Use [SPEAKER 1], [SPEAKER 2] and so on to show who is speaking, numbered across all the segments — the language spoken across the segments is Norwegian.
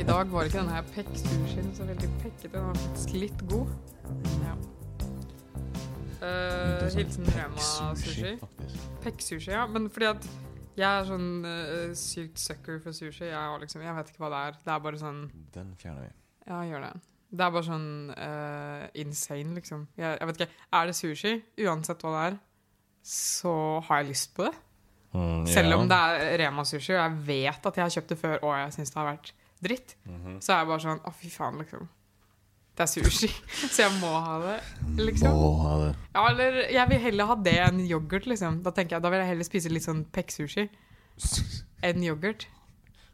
[SPEAKER 1] I dag var ikke denne her pekksushien så veldig pekkete. Den var faktisk litt god. Ja. Eh,
[SPEAKER 2] sånn
[SPEAKER 1] hilsen Rema Sushi.
[SPEAKER 2] faktisk.
[SPEAKER 1] Pekksushi, ja. Men fordi at jeg er sånn eh, sykt sucker for sushi. Jeg, har liksom, jeg vet ikke hva det er. Det er bare sånn
[SPEAKER 2] Den fjerner vi.
[SPEAKER 1] Ja, gjør det. Det er bare sånn eh, insane, liksom. Jeg, jeg vet ikke. Er det sushi, uansett hva det er, så har jeg lyst på det. Selv om det er Rema-sushi, og jeg vet at jeg har kjøpt det før, og jeg syns det har vært dritt, så er jeg bare sånn Å, fy faen, liksom. Det er sushi, så jeg må ha det, liksom.
[SPEAKER 2] Må ha det.
[SPEAKER 1] Ja, eller jeg vil heller ha det enn yoghurt, liksom. Da tenker jeg, da vil jeg heller spise litt sånn pekksushi enn yoghurt.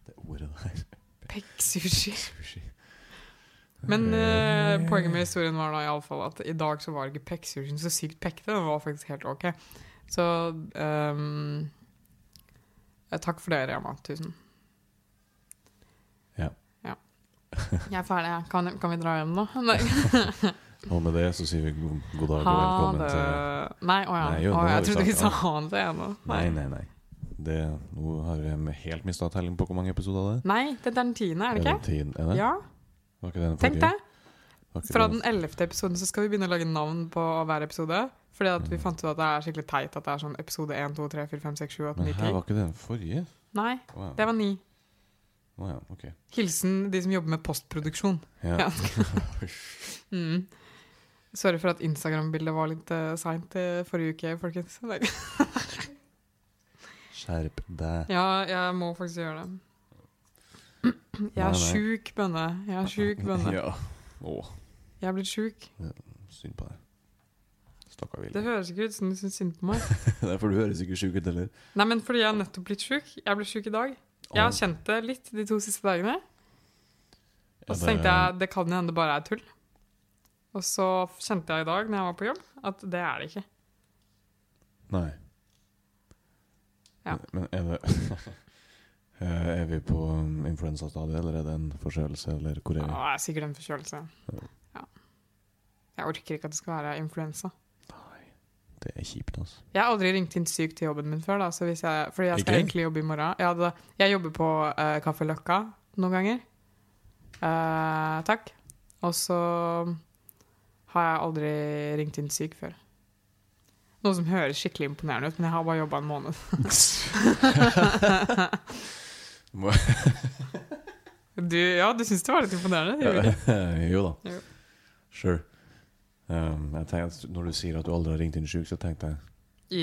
[SPEAKER 2] Det ordet der.
[SPEAKER 1] Pekksushi.
[SPEAKER 2] Sushi.
[SPEAKER 1] Men eh, poenget med historien var da i alle fall at i dag så var ikke pekksushien så sykt pekkete. Den var faktisk helt ok. Så ehm, eh, Takk for det, Rema 1000.
[SPEAKER 2] Ja.
[SPEAKER 1] ja. Jeg er ferdig, jeg. Kan, kan vi dra hjem nå? Nei.
[SPEAKER 2] Og med det så sier vi god, god dag
[SPEAKER 1] Ha
[SPEAKER 2] og velkommen
[SPEAKER 1] det
[SPEAKER 2] til
[SPEAKER 1] Nei, å ja.
[SPEAKER 2] Nei, jo, nå
[SPEAKER 1] Å,
[SPEAKER 2] har
[SPEAKER 1] jeg
[SPEAKER 2] vi
[SPEAKER 1] trodde vi sa
[SPEAKER 2] sagt
[SPEAKER 1] ha det ennå.
[SPEAKER 2] Nei, nei, nei. Det, nå har vi helt mista telling på hvor mange episoder det er.
[SPEAKER 1] Nei, dette er den tiende, er det ikke?
[SPEAKER 2] Tiden, er det?
[SPEAKER 1] Ja,
[SPEAKER 2] Var ikke det den
[SPEAKER 1] tenk
[SPEAKER 2] forrige?
[SPEAKER 1] det.
[SPEAKER 2] Var ikke
[SPEAKER 1] Fra
[SPEAKER 2] det-
[SPEAKER 1] den ellevte episoden så skal vi begynne å lage navn på hver episode. Fordi at
[SPEAKER 2] Mm.
[SPEAKER 1] vi fant ut at det er skikkelig teit at det er sånn episode 1, 2, 3, 4, 5, 6, 7, 8,
[SPEAKER 2] Men
[SPEAKER 1] 9,
[SPEAKER 2] her
[SPEAKER 1] 10.
[SPEAKER 2] var ikke det den forrige?
[SPEAKER 1] Nei,
[SPEAKER 2] Å ja.
[SPEAKER 1] det var ni.
[SPEAKER 2] Å ja, ok.
[SPEAKER 1] Hilsen de som jobber med postproduksjon.
[SPEAKER 2] Ja.
[SPEAKER 1] Ja. Mm. Sorry for at Instagram-bildet var litt uh, seint eh, forrige uke, folkens. Nei.
[SPEAKER 2] Skjerp deg.
[SPEAKER 1] Ja, jeg må faktisk gjøre det. Jeg
[SPEAKER 2] Nei,
[SPEAKER 1] er
[SPEAKER 2] nei.
[SPEAKER 1] sjuk bønne. Jeg er sjuk bønne.
[SPEAKER 2] Ja. Å,
[SPEAKER 1] Jeg er blitt sjuk.
[SPEAKER 2] synd på deg. Stakkar Ville.
[SPEAKER 1] Det høres ikke ut som du syns synd på meg.
[SPEAKER 2] Nei, for du høres ikke sjuk ut heller.
[SPEAKER 1] Nei, men fordi jeg har nettopp blitt sjuk. Jeg ble sjuk i dag. Jeg har
[SPEAKER 2] Å,
[SPEAKER 1] kjent det litt de to siste dagene. Og
[SPEAKER 2] ja,
[SPEAKER 1] så
[SPEAKER 2] det-
[SPEAKER 1] tenkte jeg det kan hende det bare er tull. Og så kjente jeg i dag når jeg var på jobb, at det er det ikke.
[SPEAKER 2] Nei.
[SPEAKER 1] Ja.
[SPEAKER 2] Men er det Eh, Er vi på um, influensastadiet, eller er det en forkjølelse, eller hvor
[SPEAKER 1] Å,
[SPEAKER 2] er
[SPEAKER 1] det
[SPEAKER 2] vi?
[SPEAKER 1] er sikkert en forkjølelse. Ja. Jeg orker ikke at det skal være influensa.
[SPEAKER 2] Det er kjipt, altså.
[SPEAKER 1] Jeg har aldri ringt inn syk til jobben min før, da, så hvis jeg, fordi jeg skal
[SPEAKER 2] Ikke?
[SPEAKER 1] egentlig jobbe i morgen. Jeg, hadde, jeg jobber på uh, Kaffe Løkka noen ganger. Eh, takk. Og så har jeg aldri ringt inn syk før. Noe som høres skikkelig imponerende ut, men jeg har bare jobba en måned.
[SPEAKER 2] Må-
[SPEAKER 1] Du, ja, du syns det var litt imponerende? gjorde du ikke?
[SPEAKER 2] jo da.
[SPEAKER 1] Jo.
[SPEAKER 2] Sure. Um, jeg tenker, at når du sier at du aldri har ringt inn sjuk, så tenkte jeg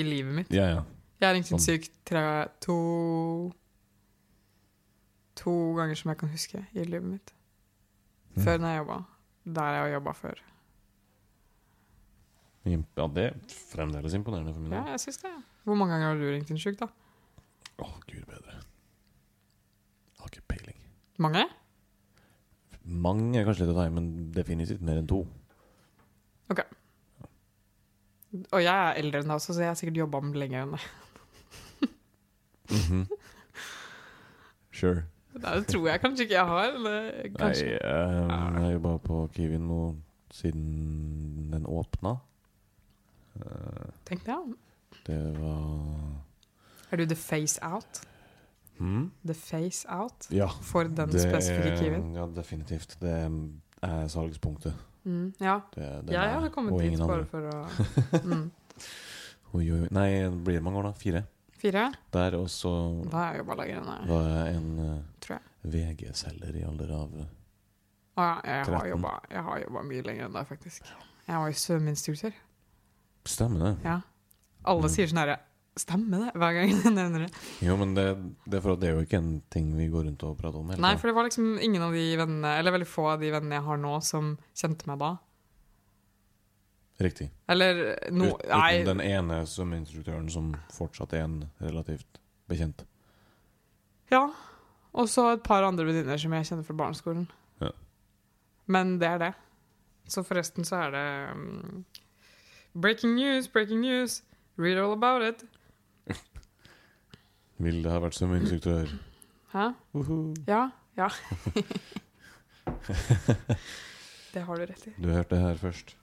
[SPEAKER 1] I livet mitt.
[SPEAKER 2] Ja, ja.
[SPEAKER 1] Jeg har ringt inn
[SPEAKER 2] Sånn.
[SPEAKER 1] syk tre, to To ganger som jeg kan huske i livet mitt.
[SPEAKER 2] Mm.
[SPEAKER 1] Før når jeg jobba. Der jeg har jobba før.
[SPEAKER 2] Imp- Hm. ja det er fremdeles imponerende for min
[SPEAKER 1] Ja,
[SPEAKER 2] del.
[SPEAKER 1] jeg syns det. Hvor mange ganger har du ringt inn syk, da?
[SPEAKER 2] Å, gud bedre. Jeg har ikke peiling.
[SPEAKER 1] Mange?
[SPEAKER 2] Mange er kanskje litt å ta i, men definitivt mer enn to.
[SPEAKER 1] Og jeg er eldre enn deg også, så jeg har sikkert jobba med det lenger enn deg.
[SPEAKER 2] Mhm. Sure.
[SPEAKER 1] Nei, Det tror jeg kanskje ikke jeg har. Eller kanskje.
[SPEAKER 2] Nei, eh, jeg har jobba på Kiwi nå siden den åpna. Eh,
[SPEAKER 1] Tenk det, ja.
[SPEAKER 2] Det var
[SPEAKER 1] Er du the face out?
[SPEAKER 2] Hm?
[SPEAKER 1] The face out?
[SPEAKER 2] Ja.
[SPEAKER 1] For den
[SPEAKER 2] det
[SPEAKER 1] spesifikke
[SPEAKER 2] er-
[SPEAKER 1] kiwien?
[SPEAKER 2] Ja, definitivt. Det er salgspunktet.
[SPEAKER 1] Mm, ja.
[SPEAKER 2] Det, det
[SPEAKER 1] Jeg
[SPEAKER 2] er
[SPEAKER 1] hadde
[SPEAKER 2] meg,
[SPEAKER 1] kommet
[SPEAKER 2] og
[SPEAKER 1] dit
[SPEAKER 2] ingen
[SPEAKER 1] bare
[SPEAKER 2] andre.
[SPEAKER 1] for å mm.
[SPEAKER 2] Oi, oi, oi. Nei, det blir mange år, da. Fire.
[SPEAKER 1] Fire?
[SPEAKER 2] Der, og så
[SPEAKER 1] Da har jeg jobba lenger enn deg.
[SPEAKER 2] var jeg en eh,
[SPEAKER 1] Tror jeg.
[SPEAKER 2] VG-selger i alder av
[SPEAKER 1] Å
[SPEAKER 2] eh,
[SPEAKER 1] ja, jeg har,
[SPEAKER 2] Tretten.
[SPEAKER 1] jobba, jeg har jobba mye lenger enn deg, faktisk. Jeg var jo svømmeinstruktør.
[SPEAKER 2] Stemmer det?
[SPEAKER 1] Ja. Alle
[SPEAKER 2] Mm.
[SPEAKER 1] sier sånn herre Stemmer det? Hver gang jeg nevner det.
[SPEAKER 2] Jo, men det, det er for at det er jo ikke en ting vi går rundt og prater om hele
[SPEAKER 1] Nei,
[SPEAKER 2] tiden.
[SPEAKER 1] for det var liksom ingen av de vennene, eller veldig få av de vennene jeg har nå, som kjente meg da.
[SPEAKER 2] Riktig.
[SPEAKER 1] Eller no,
[SPEAKER 2] Ut,
[SPEAKER 1] Nei,
[SPEAKER 2] uten den ene som instruktøren som fortsatt er en relativt bekjent.
[SPEAKER 1] Ja. Og så et par andre venninner som jeg kjenner fra barneskolen.
[SPEAKER 2] Ja.
[SPEAKER 1] Men det er det. Så forresten så er det mm, Breaking news, breaking news. Read all about it.
[SPEAKER 2] Vilde har vært som instruktør.
[SPEAKER 1] Hæ?
[SPEAKER 2] Uhu.
[SPEAKER 1] Ja. Ja. det har du rett i.
[SPEAKER 2] Du hørte det her først.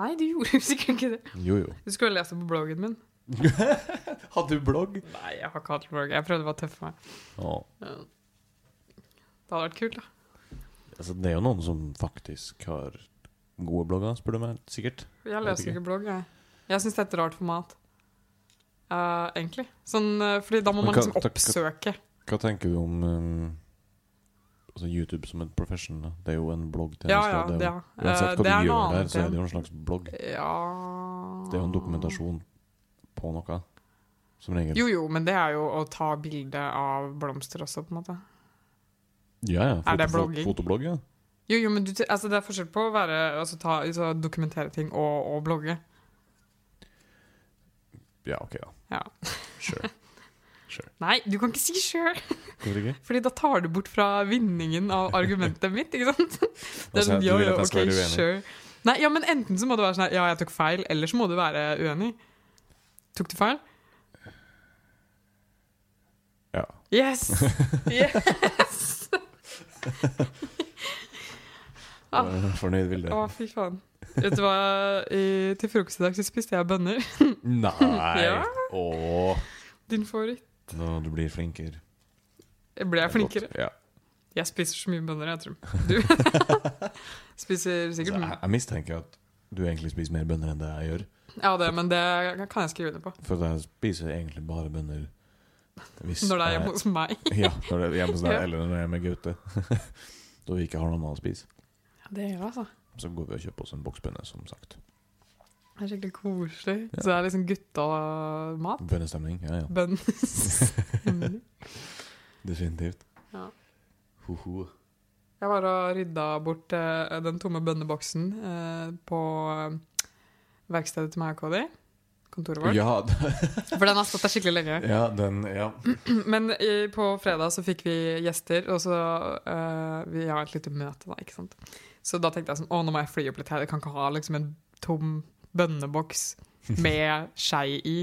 [SPEAKER 1] Nei, du gjorde jo sikkert ikke det.
[SPEAKER 2] Jo, jo.
[SPEAKER 1] Du skulle lese på bloggen min.
[SPEAKER 2] Hadde du blogg?
[SPEAKER 1] Nei, jeg har ikke hatt blogg. Jeg prøvde bare å tøffe meg.
[SPEAKER 2] Ja.
[SPEAKER 1] Det hadde vært kult, da.
[SPEAKER 2] Altså, det er jo noen som faktisk har gode blogger, spør du meg. Sikkert.
[SPEAKER 1] Jeg
[SPEAKER 2] vet
[SPEAKER 1] leser
[SPEAKER 2] ikke.
[SPEAKER 1] ikke blogg, jeg. Jeg syns det er et rart format. Eh, egentlig. Sånn, eh, fordi da må
[SPEAKER 2] Men
[SPEAKER 1] man
[SPEAKER 2] hva-
[SPEAKER 1] liksom
[SPEAKER 2] hva- hva-
[SPEAKER 1] oppsøke.
[SPEAKER 2] Hva tenker du om um, altså YouTube som en profession? Da? Det er jo en bloggtjeneste.
[SPEAKER 1] Ja, ja,
[SPEAKER 2] det er
[SPEAKER 1] det,
[SPEAKER 2] jo-
[SPEAKER 1] ja. Eh,
[SPEAKER 2] Uansett hva
[SPEAKER 1] det
[SPEAKER 2] du
[SPEAKER 1] er noe
[SPEAKER 2] gjør der,
[SPEAKER 1] annet
[SPEAKER 2] så er
[SPEAKER 1] enn-
[SPEAKER 2] det jo en slags blogg.
[SPEAKER 1] Ja
[SPEAKER 2] Det er jo en dokumentasjon på noe, som regel.
[SPEAKER 1] Jo, jo, men det er jo å ta bilde av blomster også, på en måte.
[SPEAKER 2] Ja, ja.
[SPEAKER 1] Er det
[SPEAKER 2] foto-
[SPEAKER 1] blogging?
[SPEAKER 2] Fotoblogg, ja.
[SPEAKER 1] Jo, jo, men du, altså, det er forskjell på å være, altså, ta, altså, dokumentere ting og, og blogge.
[SPEAKER 2] Ja, ok, da.
[SPEAKER 1] Ja.
[SPEAKER 2] Sure. Sure.
[SPEAKER 1] Nei, du kan ikke si sjøl!
[SPEAKER 2] Hvorfor ikke?
[SPEAKER 1] Fordi da tar du bort fra vinningen av argumentet mitt, ikke sant? Det er
[SPEAKER 2] Altså,
[SPEAKER 1] sånn,
[SPEAKER 2] du
[SPEAKER 1] jo,
[SPEAKER 2] vil
[SPEAKER 1] jo,
[SPEAKER 2] at jeg
[SPEAKER 1] ok,
[SPEAKER 2] skal være uenig.
[SPEAKER 1] sure. Nei, ja, men enten så må det være sånn her, ja, jeg tok feil, eller så må du være uenig. Tok du feil?
[SPEAKER 2] Ja.
[SPEAKER 1] Yes! Yes! Ah.
[SPEAKER 2] Fornøyd, Vilde?
[SPEAKER 1] Å, fy faen. Vet du hva, I, til frokost i dag så spiste jeg bønner.
[SPEAKER 2] Nei!
[SPEAKER 1] Ja.
[SPEAKER 2] Åh.
[SPEAKER 1] Din favoritt.
[SPEAKER 2] Nå, du blir flinkere.
[SPEAKER 1] Jeg ble jeg flinkere?
[SPEAKER 2] Ja.
[SPEAKER 1] Jeg spiser så mye bønner, jeg tror. Du spiser
[SPEAKER 2] Altså,
[SPEAKER 1] sikkert
[SPEAKER 2] jeg,
[SPEAKER 1] mye.
[SPEAKER 2] jeg mistenker at du egentlig spiser mer bønner enn det jeg gjør.
[SPEAKER 1] Ja, det, men det kan jeg skrive under på.
[SPEAKER 2] For jeg spiser egentlig bare bønner hvis
[SPEAKER 1] Når det er
[SPEAKER 2] jeg-
[SPEAKER 1] hjemme hos meg.
[SPEAKER 2] Ja, når det er hjemme hos deg,
[SPEAKER 1] Ja.
[SPEAKER 2] eller når jeg er med Gaute. da vi ikke har noe annet å spise.
[SPEAKER 1] Ja, det gjør det, altså.
[SPEAKER 2] Så går vi og kjøper oss en boks bønner, som sagt.
[SPEAKER 1] Det er skikkelig koselig. Så det er liksom gutta-mat.
[SPEAKER 2] Bønnestemning, ja ja.
[SPEAKER 1] Bønner.
[SPEAKER 2] Definitivt.
[SPEAKER 1] Ja.
[SPEAKER 2] Hoho.
[SPEAKER 1] Jeg var og rydda bort eh, den tomme bønneboksen eh, på eh, verkstedet til meg og Cody. Kontoret vårt.
[SPEAKER 2] Ja,
[SPEAKER 1] For den har stått der skikkelig lenge.
[SPEAKER 2] ja, den Ja.
[SPEAKER 1] Men i, på fredag så fikk vi gjester, og så eh, Vi har et lite møte, da, ikke sant. Så da tenkte jeg sånn Å, nå må jeg fly opp litt her. Jeg kan ikke ha liksom en tom bønneboks med skei i,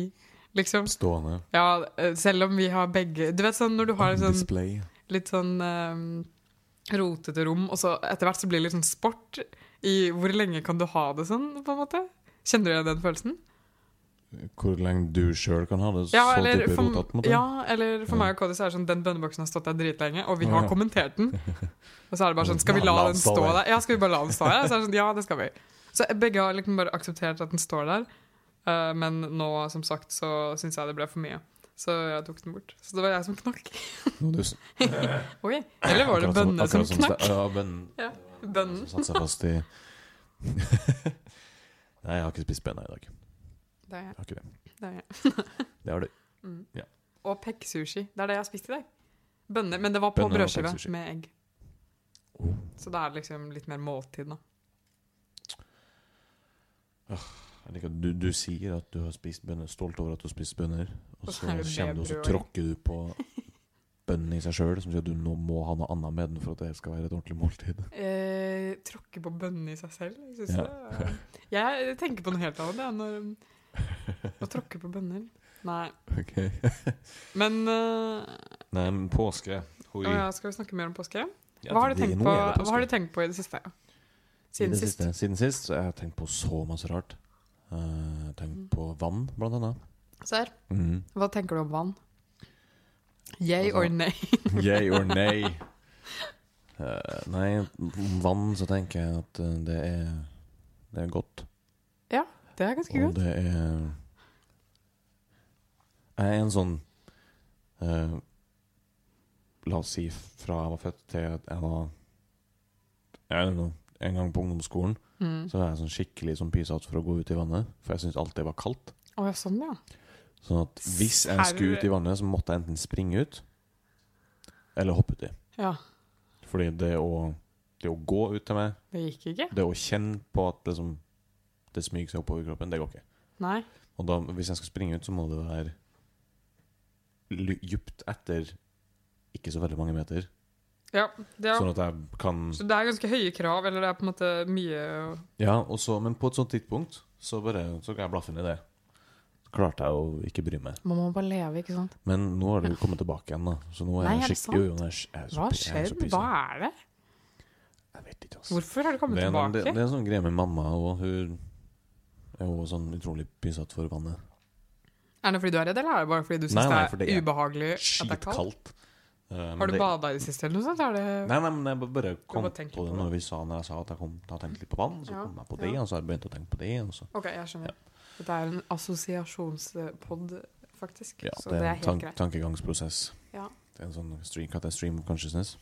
[SPEAKER 1] liksom.
[SPEAKER 2] Stående.
[SPEAKER 1] Ja, eh, selv om vi har begge Du vet sånn når du har en sånn
[SPEAKER 2] Display.
[SPEAKER 1] litt sånn eh, rotete rom, og så etter hvert så blir det litt sånn sport i hvor lenge kan du ha det sånn, på en måte? Kjenner du igjen den følelsen?
[SPEAKER 2] Hvor lenge du sjøl kan ha det.
[SPEAKER 1] Ja,
[SPEAKER 2] så
[SPEAKER 1] eller
[SPEAKER 2] type
[SPEAKER 1] for,
[SPEAKER 2] rotete, på en måte.
[SPEAKER 1] ja, eller for
[SPEAKER 2] Ja.
[SPEAKER 1] meg og Cody så er det sånn den bønneboksen har stått der dritlenge, og vi
[SPEAKER 2] Ja,
[SPEAKER 1] har
[SPEAKER 2] ja.
[SPEAKER 1] kommentert den. Og så er det bare sånn Skal vi
[SPEAKER 2] Ja,
[SPEAKER 1] la
[SPEAKER 2] la den
[SPEAKER 1] den
[SPEAKER 2] stå
[SPEAKER 1] stå
[SPEAKER 2] der.
[SPEAKER 1] der? Ja, skal vi bare la den stå der? Så er det sånn, ja, det skal vi. Så begge har liksom bare akseptert at den står der, Eh, men nå, som sagt, så syns jeg det ble for mye. Så jeg tok den bort. Så det var jeg som knakk.
[SPEAKER 2] Nå, du s-
[SPEAKER 1] Oi. Eller var det
[SPEAKER 2] akkurat
[SPEAKER 1] bønnene som
[SPEAKER 2] akkurat
[SPEAKER 1] knakk?
[SPEAKER 2] ste- Ja, bønnen.
[SPEAKER 1] Ja, bønnen.
[SPEAKER 2] Som satte seg fast i Nei, jeg har ikke spist bønner i dag. Jeg
[SPEAKER 1] Det er jeg.
[SPEAKER 2] har ikke det.
[SPEAKER 1] Det er jeg.
[SPEAKER 2] Det har du.
[SPEAKER 1] Og pekksushi. Det er det jeg har spist i dag. Bønner. Men det var på
[SPEAKER 2] Bønner og
[SPEAKER 1] brødskive
[SPEAKER 2] pekksushi.
[SPEAKER 1] med egg.
[SPEAKER 2] Oh.
[SPEAKER 1] Så det er liksom litt mer måltid, da.
[SPEAKER 2] Jeg liker at du, du sier at du har spist bønner, stolt over at du har spist bønner, og
[SPEAKER 1] Og så
[SPEAKER 2] så
[SPEAKER 1] er det
[SPEAKER 2] kommer du og så
[SPEAKER 1] brød.
[SPEAKER 2] tråkker du på bønnen i seg sjøl, som sier at du nå må ha noe annet med den for at det skal være et ordentlig måltid.
[SPEAKER 1] Eh, tråkke på bønnene i seg selv. Jeg, synes
[SPEAKER 2] Ja.
[SPEAKER 1] det, er- jeg tenker på noe helt annet jeg, når, å tråkke på bønner. Nei.
[SPEAKER 2] Ok.
[SPEAKER 1] Men eh,
[SPEAKER 2] Nei, men påske Hoi.
[SPEAKER 1] å ja, Skal vi snakke mer om påske?
[SPEAKER 2] Ja,
[SPEAKER 1] Hva har,
[SPEAKER 2] det-
[SPEAKER 1] du tenkt
[SPEAKER 2] nå
[SPEAKER 1] på,
[SPEAKER 2] er det påske.
[SPEAKER 1] hva har du tenkt på i det siste?
[SPEAKER 2] I
[SPEAKER 1] Siden
[SPEAKER 2] det
[SPEAKER 1] sist?
[SPEAKER 2] siste? Siden sist så jeg har tenkt på så masse rart. Eh, Jeg har tenkt på vann, blant annet.
[SPEAKER 1] Serr,
[SPEAKER 2] Mm.
[SPEAKER 1] hva tenker du om vann? Yay
[SPEAKER 2] Altså-
[SPEAKER 1] or nay?
[SPEAKER 2] Yay or nay? Eh, nei, om vann så tenker jeg at eh, det er Det er godt.
[SPEAKER 1] Det er ganske
[SPEAKER 2] Og
[SPEAKER 1] godt.
[SPEAKER 2] det er Jeg er en sånn eh, La oss si fra jeg var født til at jeg var jeg vet ikke, En gang på ungdomsskolen
[SPEAKER 1] Mm.
[SPEAKER 2] Så var jeg sånn skikkelig sånn pysatt for å gå ut i vannet, for jeg syntes alltid det var kaldt.
[SPEAKER 1] Å ja, sånn ja.
[SPEAKER 2] Sånn at hvis jeg skulle ut i vannet, så måtte jeg enten springe ut eller hoppe uti.
[SPEAKER 1] Ja,
[SPEAKER 2] Fordi det å, det å gå ut til meg,
[SPEAKER 1] Det gikk ikke?
[SPEAKER 2] det å kjenne på at det, som, det smyger seg oppover kroppen, det går ikke.
[SPEAKER 1] Nei.
[SPEAKER 2] Og da, hvis jeg skal springe ut, så må det være ly- djupt etter ikke så veldig mange meter.
[SPEAKER 1] Ja, det er,
[SPEAKER 2] Sånn at jeg kan
[SPEAKER 1] så det er ganske høye krav, eller det er på en måte mye
[SPEAKER 2] Ja, og så, men på et sånt tidspunkt så, bare, så ga jeg blaffen i det. Så klarte jeg å ikke bry meg.
[SPEAKER 1] Man må bare leve, ikke sant?
[SPEAKER 2] Men nå har det jo kommet tilbake igjen, da. Så nå er
[SPEAKER 1] Nei, er
[SPEAKER 2] jeg
[SPEAKER 1] det
[SPEAKER 2] skikkelig jo, jo, jeg er, jeg er så,
[SPEAKER 1] Hva
[SPEAKER 2] pi- jeg er så
[SPEAKER 1] skjedde?
[SPEAKER 2] pysa.
[SPEAKER 1] Hva er det?
[SPEAKER 2] Jeg vet ikke, altså.
[SPEAKER 1] Hvorfor har det kommet
[SPEAKER 2] det, er en, det,
[SPEAKER 1] tilbake?
[SPEAKER 2] det er en sånn greie med mamma, og hun er jo sånn utrolig pysete for vannet.
[SPEAKER 1] Er det fordi du er redd, eller er det bare fordi du
[SPEAKER 2] Nei,
[SPEAKER 1] syns
[SPEAKER 2] nei, for
[SPEAKER 1] det
[SPEAKER 2] det er
[SPEAKER 1] er ubehagelig at det er kaldt?
[SPEAKER 2] Skitkaldt. Eh, men
[SPEAKER 1] Har du
[SPEAKER 2] det-
[SPEAKER 1] bada i det siste, eller noe sånt? Er det...
[SPEAKER 2] Nei, nei, men jeg ba- bare kom
[SPEAKER 1] bare tenker
[SPEAKER 2] på det
[SPEAKER 1] på det.
[SPEAKER 2] når vi sa Når jeg sa at jeg kom til å tenke litt på vann. Så
[SPEAKER 1] Ja,
[SPEAKER 2] kom jeg på det,
[SPEAKER 1] ja.
[SPEAKER 2] og så har jeg begynt å tenke på det. Og så.
[SPEAKER 1] Ok, jeg skjønner. Dette er en assosiasjonspod, faktisk.
[SPEAKER 2] Ja,
[SPEAKER 1] så
[SPEAKER 2] det er en
[SPEAKER 1] helt
[SPEAKER 2] tan
[SPEAKER 1] greit.
[SPEAKER 2] tankegangsprosess.
[SPEAKER 1] Ja.
[SPEAKER 2] Det er en sånn stream, hva heter det? stream of consciousness.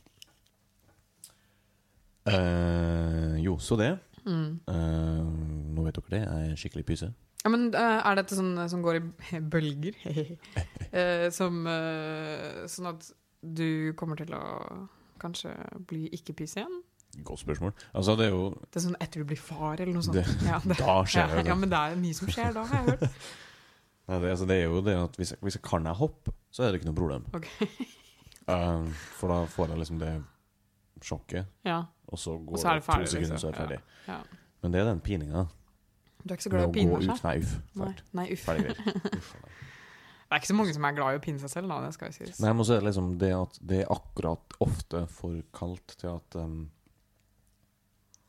[SPEAKER 2] Eh, jo, så det.
[SPEAKER 1] Mm.
[SPEAKER 2] Eh, nå vet dere det. Jeg er skikkelig pyse.
[SPEAKER 1] Ja, men eh, Er dette sånn eh, som går i bølger? Eh, som eh, Sånn at du kommer til å kanskje bli ikke-pyse igjen?
[SPEAKER 2] Godt spørsmål. Altså, det er jo
[SPEAKER 1] Det er sånn etter du blir far, eller noe sånt.
[SPEAKER 2] Det-
[SPEAKER 1] ja, det,
[SPEAKER 2] Da skjer
[SPEAKER 1] ja,
[SPEAKER 2] det jo
[SPEAKER 1] ja,
[SPEAKER 2] det.
[SPEAKER 1] men det er mye som skjer da, har jeg hørt.
[SPEAKER 2] Nei, det, altså, det er jo det at hvis jeg, hvis jeg kan jeg hoppe, så er det ikke noe problem.
[SPEAKER 1] Ok.
[SPEAKER 2] Eh, for da får jeg liksom det sjokket,
[SPEAKER 1] Ja,
[SPEAKER 2] og så går
[SPEAKER 1] Og så er
[SPEAKER 2] det,
[SPEAKER 1] det ferdig,
[SPEAKER 2] to sekunder,
[SPEAKER 1] liksom.
[SPEAKER 2] så er det ferdig.
[SPEAKER 1] Ja, ja.
[SPEAKER 2] Men det er den pininga.
[SPEAKER 1] Du er ikke så
[SPEAKER 2] Med
[SPEAKER 1] glad i
[SPEAKER 2] å
[SPEAKER 1] å
[SPEAKER 2] gå
[SPEAKER 1] pine
[SPEAKER 2] ut
[SPEAKER 1] seg?
[SPEAKER 2] Nei, uff.
[SPEAKER 1] Nei, nei,
[SPEAKER 2] Ferdig.
[SPEAKER 1] uff.
[SPEAKER 2] Ferdig. greier. Uff, nei.
[SPEAKER 1] Det er ikke så mange som er glad i å pinne seg selv, da. Det skal jo sies.
[SPEAKER 2] Nei, men så er det liksom det at det er akkurat ofte for kaldt til at um,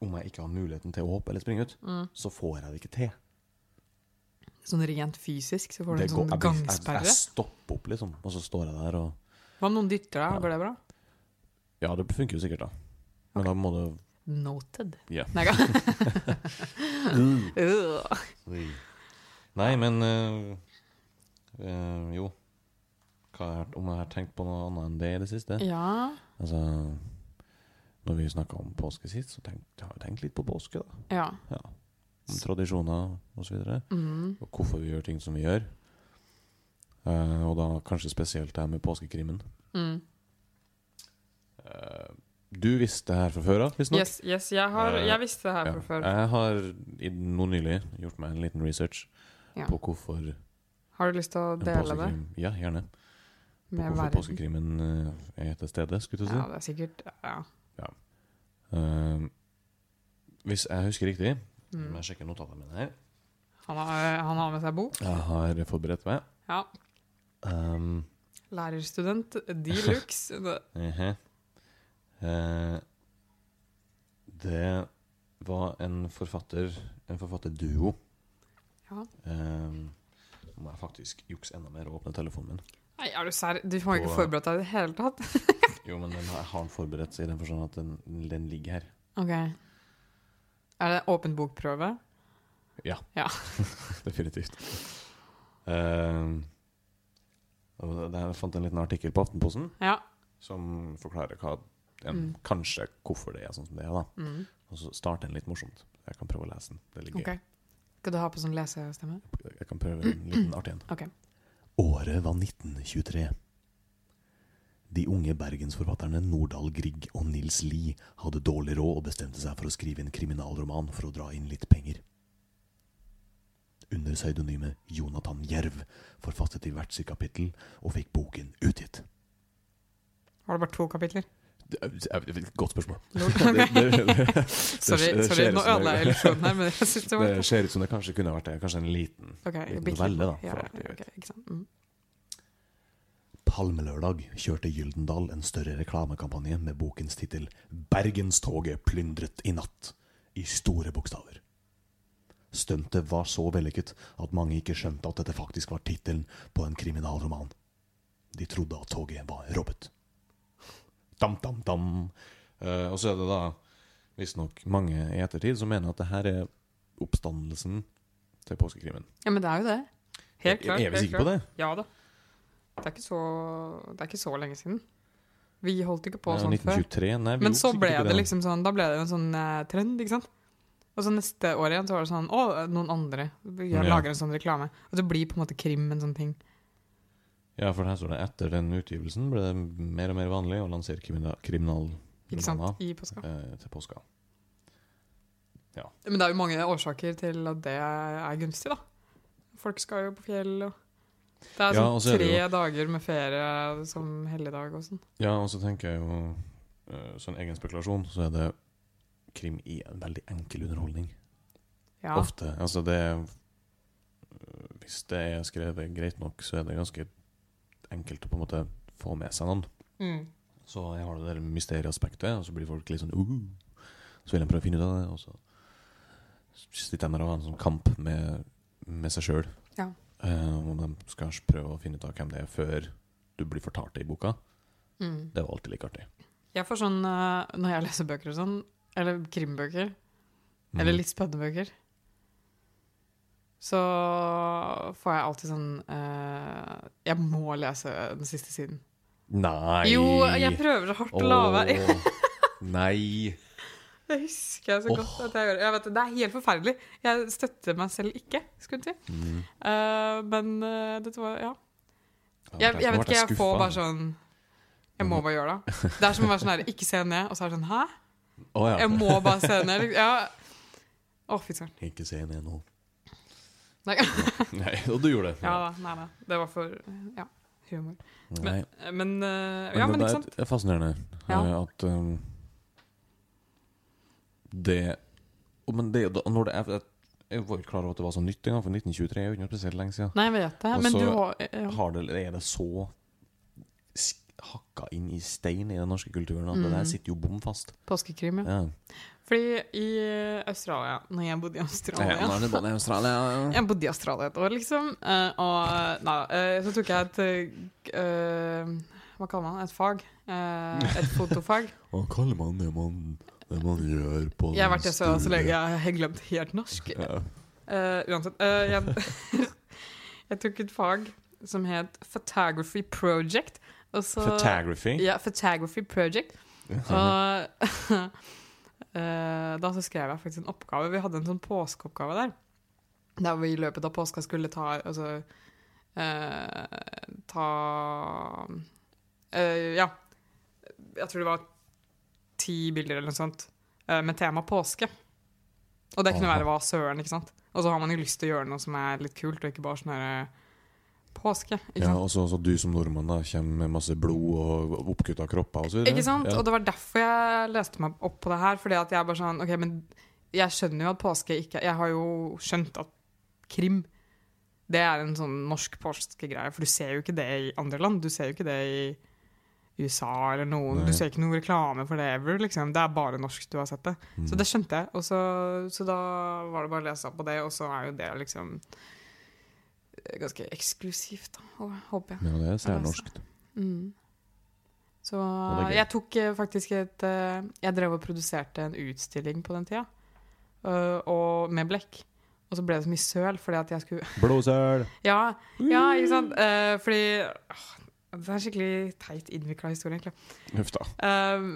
[SPEAKER 2] Om jeg ikke har muligheten til å hoppe eller springe ut,
[SPEAKER 1] Mm.
[SPEAKER 2] så får jeg det ikke til.
[SPEAKER 1] Sånn rent fysisk så får du
[SPEAKER 2] Det
[SPEAKER 1] en
[SPEAKER 2] går- altså,
[SPEAKER 1] sånn
[SPEAKER 2] jeg blir- Jeg,
[SPEAKER 1] gangsperre.
[SPEAKER 2] jeg stopper opp, liksom, og så står jeg der og
[SPEAKER 1] Hva om noen dytter deg? Går det bra?
[SPEAKER 2] Ja, det funker jo sikkert, da. Men da må du
[SPEAKER 1] Noted.
[SPEAKER 2] Ja.
[SPEAKER 1] Nei,
[SPEAKER 2] Uh.
[SPEAKER 1] ga-
[SPEAKER 2] Nei, men øh, øh, Jo. Hva har, jeg- om jeg har tenkt på noe annet enn det i det siste?
[SPEAKER 1] ja.
[SPEAKER 2] Altså Når vi snakka om påske sist, så tenk, jeg har jeg tenkt litt på påske, da.
[SPEAKER 1] Ja.
[SPEAKER 2] Ja. Om tradisjoner og så videre.
[SPEAKER 1] Mm.
[SPEAKER 2] Og hvorfor vi gjør ting som vi gjør. Eh, og da kanskje spesielt det her med påskekrimmen.
[SPEAKER 1] Mm.
[SPEAKER 2] Eh, du visste det her fra før av, visstnok.
[SPEAKER 1] Yes, yes jeg, har,
[SPEAKER 2] Eh,
[SPEAKER 1] jeg visste det her fra før.
[SPEAKER 2] Jeg har i- nå nylig gjort meg en liten research
[SPEAKER 1] Ja.
[SPEAKER 2] på hvorfor
[SPEAKER 1] Har du lyst til å
[SPEAKER 2] en
[SPEAKER 1] dele det
[SPEAKER 2] påskekrim Ja, gjerne. På
[SPEAKER 1] med
[SPEAKER 2] hvorfor
[SPEAKER 1] verden?
[SPEAKER 2] påskekrimmen eh, er til stede, skulle du si.
[SPEAKER 1] Ja, det er sikkert ja.
[SPEAKER 2] Eh, hvis jeg husker riktig
[SPEAKER 1] Mm.
[SPEAKER 2] Må jeg sjekke notatene mine her.
[SPEAKER 1] Han, har, eh, han har med seg bok.
[SPEAKER 2] Jeg har forberedt meg.
[SPEAKER 1] Ja.
[SPEAKER 2] Um,
[SPEAKER 1] Lærerstudent de luxe. Det-
[SPEAKER 2] ehe. Eh, det var en forfatter En forfatterduo.
[SPEAKER 1] Ja.
[SPEAKER 2] Um, nå må jeg faktisk jukse enda mer og åpne telefonen min.
[SPEAKER 1] Nei, er du serr? Du har ikke
[SPEAKER 2] På-
[SPEAKER 1] forberedt deg i det hele tatt?
[SPEAKER 2] Jo, men den har, jeg har den forberedt i den forstand at den, den ligger her.
[SPEAKER 1] Ok. Er det åpen bokprøve?
[SPEAKER 2] Definitivt. Um, og der fant jeg en liten artikkel på Aftenposten.
[SPEAKER 1] Ja.
[SPEAKER 2] som forklarer hva en,
[SPEAKER 1] Mm.
[SPEAKER 2] Kanskje hvorfor det er sånn som det er, da.
[SPEAKER 1] Mm.
[SPEAKER 2] Og så starter den litt morsomt. Jeg kan prøve å lese den. Det ligger
[SPEAKER 1] Ok. Skal du ha på sånn lesestemme?
[SPEAKER 2] Jeg kan prøve en liten artig en.
[SPEAKER 1] Ok.
[SPEAKER 2] Året var 1923. De unge bergensforfatterne Nordahl Grieg og Nils Lie hadde dårlig råd og bestemte seg for å skrive en kriminalroman for å dra inn litt penger. Under pseudonymet Jonathan Jerv forfattet de hvert sitt kapittel og fikk boken utgitt.
[SPEAKER 1] Var det bare to kapitler?
[SPEAKER 2] Det er- det er et Godt spørsmål.
[SPEAKER 1] Lol.
[SPEAKER 2] Det,
[SPEAKER 1] Ok.
[SPEAKER 2] det, det,
[SPEAKER 1] Sorry,
[SPEAKER 2] det
[SPEAKER 1] sorry,
[SPEAKER 2] skjer
[SPEAKER 1] nå
[SPEAKER 2] som det-
[SPEAKER 1] ødela jeg illusjonen her, men jeg synes det var
[SPEAKER 2] Det ser ut som det kanskje kunne vært det. Kanskje en liten
[SPEAKER 1] Ok, jeg
[SPEAKER 2] Liten
[SPEAKER 1] biter litt
[SPEAKER 2] novelle,
[SPEAKER 1] på.
[SPEAKER 2] da, for
[SPEAKER 1] Ja,
[SPEAKER 2] alt jeg vet.
[SPEAKER 1] ok, ikke sant? Mm.
[SPEAKER 3] Palmelørdag kjørte Gyldendal en større reklamekampanje med bokens tittel 'Bergenstoget plyndret i natt' i store bokstaver. Stuntet var så vellykket at mange ikke skjønte at dette faktisk var tittelen på en kriminalroman. De trodde at toget var robbet.
[SPEAKER 2] dam, dam, dam. Eh, og så er det da visstnok mange i ettertid som mener at det her er oppstandelsen til påskekrimen.
[SPEAKER 1] Ja, men det er jo det. Helt
[SPEAKER 2] Er-
[SPEAKER 1] klart.
[SPEAKER 2] Er
[SPEAKER 1] helt
[SPEAKER 2] vi sikre på
[SPEAKER 1] klart.
[SPEAKER 2] det?
[SPEAKER 1] Ja da. Det er ikke så, det er ikke så lenge siden. Vi holdt ikke på
[SPEAKER 2] Ja,
[SPEAKER 1] sånn før.
[SPEAKER 2] 1923? Nei, vi
[SPEAKER 1] Men
[SPEAKER 2] gjorde
[SPEAKER 1] så
[SPEAKER 2] sikkert
[SPEAKER 1] ble
[SPEAKER 2] ikke
[SPEAKER 1] det liksom sånn Da ble det jo en sånn eh, trend, ikke sant? Og så neste år igjen så var det sånn Å, noen andre vi
[SPEAKER 2] Ja.
[SPEAKER 1] lager en sånn reklame. Og det blir på en måte krim en sånn ting.
[SPEAKER 2] Ja, for her står det etter den utgivelsen ble det mer og mer vanlig å lansere kriminal,
[SPEAKER 1] Ikke sant?
[SPEAKER 2] kriminalromaner
[SPEAKER 1] I påska.
[SPEAKER 2] eh, til påska.
[SPEAKER 1] Men det er jo mange årsaker til at det er gunstig, da. Folk skal jo på fjell og Det er
[SPEAKER 2] Ja, og så
[SPEAKER 1] sånn
[SPEAKER 2] er det
[SPEAKER 1] tre dager med ferie som helligdag og sånn.
[SPEAKER 2] Ja, og så tenker jeg jo eh, Sånn egen spekulasjon, så er det krim i en veldig enkel underholdning.
[SPEAKER 1] Ja.
[SPEAKER 2] Ofte. Altså det eh, Hvis det er skrevet greit nok, så er det ganske enkelt å på en måte få med seg noen.
[SPEAKER 1] Mm.
[SPEAKER 2] Så jeg har det der mysterieaspektet, og så blir folk litt sånn uh, Så vil de prøve å finne ut av det, og så sitter de der og har en sånn kamp med, med seg sjøl.
[SPEAKER 1] Ja.
[SPEAKER 2] Eh, og de skal prøve å finne ut av hvem det er, før du blir fortalt det i boka.
[SPEAKER 1] Mm.
[SPEAKER 2] Det var alltid like artig.
[SPEAKER 1] Jeg får sånn eh, når jeg leser bøker og sånn, eller krimbøker,
[SPEAKER 2] Mm.
[SPEAKER 1] eller litt spennende bøker, så får jeg alltid sånn eh, Jeg må lese den siste siden.
[SPEAKER 2] Nei!
[SPEAKER 1] Jo, jeg prøver så hardt å la være.
[SPEAKER 2] Åh, Nei!
[SPEAKER 1] Det husker jeg så godt. at jeg gjorde. Jeg vet, det, det er helt forferdelig. Jeg støtter meg selv ikke, skulle jeg si.
[SPEAKER 2] Mm.
[SPEAKER 1] Eh, men eh, dette var Ja. Jeg, jeg vet ikke, jeg får bare sånn Jeg må bare gjøre det. Det er som å være sånn her Ikke se ned, og så er det sånn Hæ?
[SPEAKER 2] Å ja.
[SPEAKER 1] Jeg må bare se ned. liksom. Ja. Å, fy søren.
[SPEAKER 2] Ikke se ned nå.
[SPEAKER 1] Nei.
[SPEAKER 2] Nei, og du gjorde det.
[SPEAKER 1] Ja da. Nei, nei. Det var for Ja. Humor.
[SPEAKER 2] Nei.
[SPEAKER 1] Men, men eh,
[SPEAKER 2] Men
[SPEAKER 1] Ja,
[SPEAKER 2] det-
[SPEAKER 1] men
[SPEAKER 2] det
[SPEAKER 1] ikke
[SPEAKER 2] er-
[SPEAKER 1] sant?
[SPEAKER 2] Det er fascinerende
[SPEAKER 1] Ja.
[SPEAKER 2] eh, at um, det og Men det, da- når det er jeg- Jeg var jo ikke klar over at det var så nytt engang, for 1923 er jo ikke noe spesielt lenge siden.
[SPEAKER 1] Nei, jeg vet det.
[SPEAKER 2] Og
[SPEAKER 1] Men
[SPEAKER 2] så
[SPEAKER 1] du har eh, ja.
[SPEAKER 2] Har det, er det så sk- hakka inn i stein i den norske kulturen at det der sitter jo bom fast?
[SPEAKER 1] Påskekrim, Mm. ja.
[SPEAKER 2] Ja.
[SPEAKER 1] Fordi i Australia Når jeg bodde i Australia
[SPEAKER 2] Ja, det er bare i Australia.
[SPEAKER 1] Jeg bodde i Australia et år, liksom. eh, Og nei, eh, så tok jeg et eh, eh, Hva kaller man det? Et fag? Eh, Et fotofag.
[SPEAKER 3] Hva kaller man det man, det man gjør på
[SPEAKER 1] Jeg har vært i Australia så lenge
[SPEAKER 3] store-
[SPEAKER 1] jeg har glemt helt norsk.
[SPEAKER 2] Ja.
[SPEAKER 1] Eh, uansett. eh, jeg, jeg tok et fag som het Photography Project. Og så,
[SPEAKER 2] Photography.
[SPEAKER 1] Ja, Photography Project. Og eh, da så skrev jeg faktisk en oppgave. Vi hadde en sånn påskeoppgave der. Der vi i løpet av påska skulle ta Altså eh, ta eh, Ja. Jeg tror det var ti bilder eller noe sånt eh, med tema påske. Og det kunne
[SPEAKER 2] Aha.
[SPEAKER 1] være hva søren, ikke sant. Og så har man jo lyst til å gjøre noe som er litt kult, og ikke bare sånn herre Påske. Ikke
[SPEAKER 2] Ja,
[SPEAKER 1] sant?
[SPEAKER 2] og så så du som nordmann da kommer med masse blod og oppkutta kropper og så videre.
[SPEAKER 1] Ikke sant?
[SPEAKER 2] Ja.
[SPEAKER 1] Og det var derfor jeg leste meg opp på det her. Fordi at jeg bare sånn Ok, men jeg skjønner jo at påske ikke Jeg har jo skjønt at krim Det er en sånn norsk påskegreie, for du ser jo ikke det i andre land. Du ser jo ikke det i USA eller noen. Du ser ikke noe reklame for det ever. Liksom. Det er bare norsk du har sett det.
[SPEAKER 2] Mm.
[SPEAKER 1] Så det skjønte jeg. Og så, så da var det bare å lese opp på det, og så er jo det liksom ganske eksklusivt, da, håper jeg.
[SPEAKER 2] Ja, det er særnorsk.
[SPEAKER 1] Mm. Så
[SPEAKER 2] det er gøy.
[SPEAKER 1] jeg tok eh, faktisk et eh, Jeg drev og produserte en utstilling på den tida, eh, og med blekk. Og så ble det så mye søl fordi at jeg skulle
[SPEAKER 2] Blodsøl!
[SPEAKER 1] Ja, ja ikke sant? Eh, fordi åh, Det er en skikkelig teit innvikla historie, egentlig.
[SPEAKER 2] Huff da.
[SPEAKER 1] Ehm,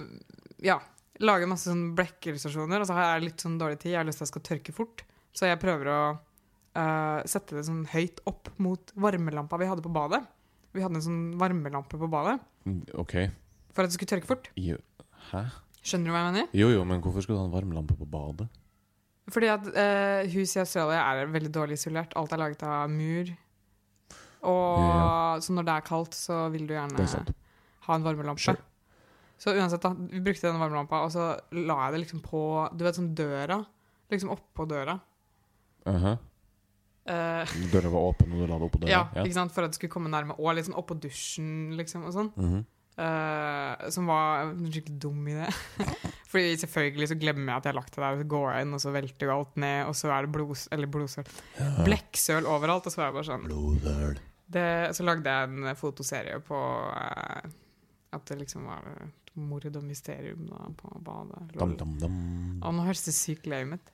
[SPEAKER 1] ja. Lager masse sånn blekkillustrasjoner, og så har jeg litt sånn dårlig tid. Jeg har lyst til at det skal tørke fort, så jeg prøver å eh, sette det sånn høyt opp mot varmelampa vi hadde på badet. Vi hadde en sånn varmelampe på badet
[SPEAKER 2] Mm, OK.
[SPEAKER 1] for at det skulle tørke fort.
[SPEAKER 2] Jo. Hæ?
[SPEAKER 1] Skjønner du hva jeg mener?
[SPEAKER 2] Jo jo, men hvorfor skal du ha en varmlampe på badet?
[SPEAKER 1] Fordi at eh, huset i Australia er veldig dårlig isolert. Alt er laget av mur. Og
[SPEAKER 2] Ja.
[SPEAKER 1] Så når det er kaldt, så vil du
[SPEAKER 2] Det
[SPEAKER 1] gjerne
[SPEAKER 2] er sant.
[SPEAKER 1] ha en varmelampe.
[SPEAKER 2] Sure.
[SPEAKER 1] Så uansett, da, vi brukte den varmelampa, og så la jeg det liksom på Du vet sånn døra? Liksom oppå døra.
[SPEAKER 2] Aha.
[SPEAKER 1] Eh,
[SPEAKER 2] Døra var åpen, og du la det oppå døra?
[SPEAKER 1] ja, ikke sant? For at det skulle komme nærme. Og liksom oppå dusjen, liksom. og sånn.
[SPEAKER 2] Mhm.
[SPEAKER 1] Eh, som var en skikkelig dum idé. Fordi selvfølgelig så glemmer jeg at jeg har lagt det der, og så går jeg inn, og så velter jo alt ned, og så er det blods, eller blodsøl Blekksøl overalt. Og så var jeg bare sånn
[SPEAKER 3] Blodsøl.
[SPEAKER 1] det, Så lagde jeg en fotoserie på eh, at det liksom var mord og mysterium da, på badet.
[SPEAKER 2] Dam, dam, dam.
[SPEAKER 1] Og nå høres det sykt lame ut.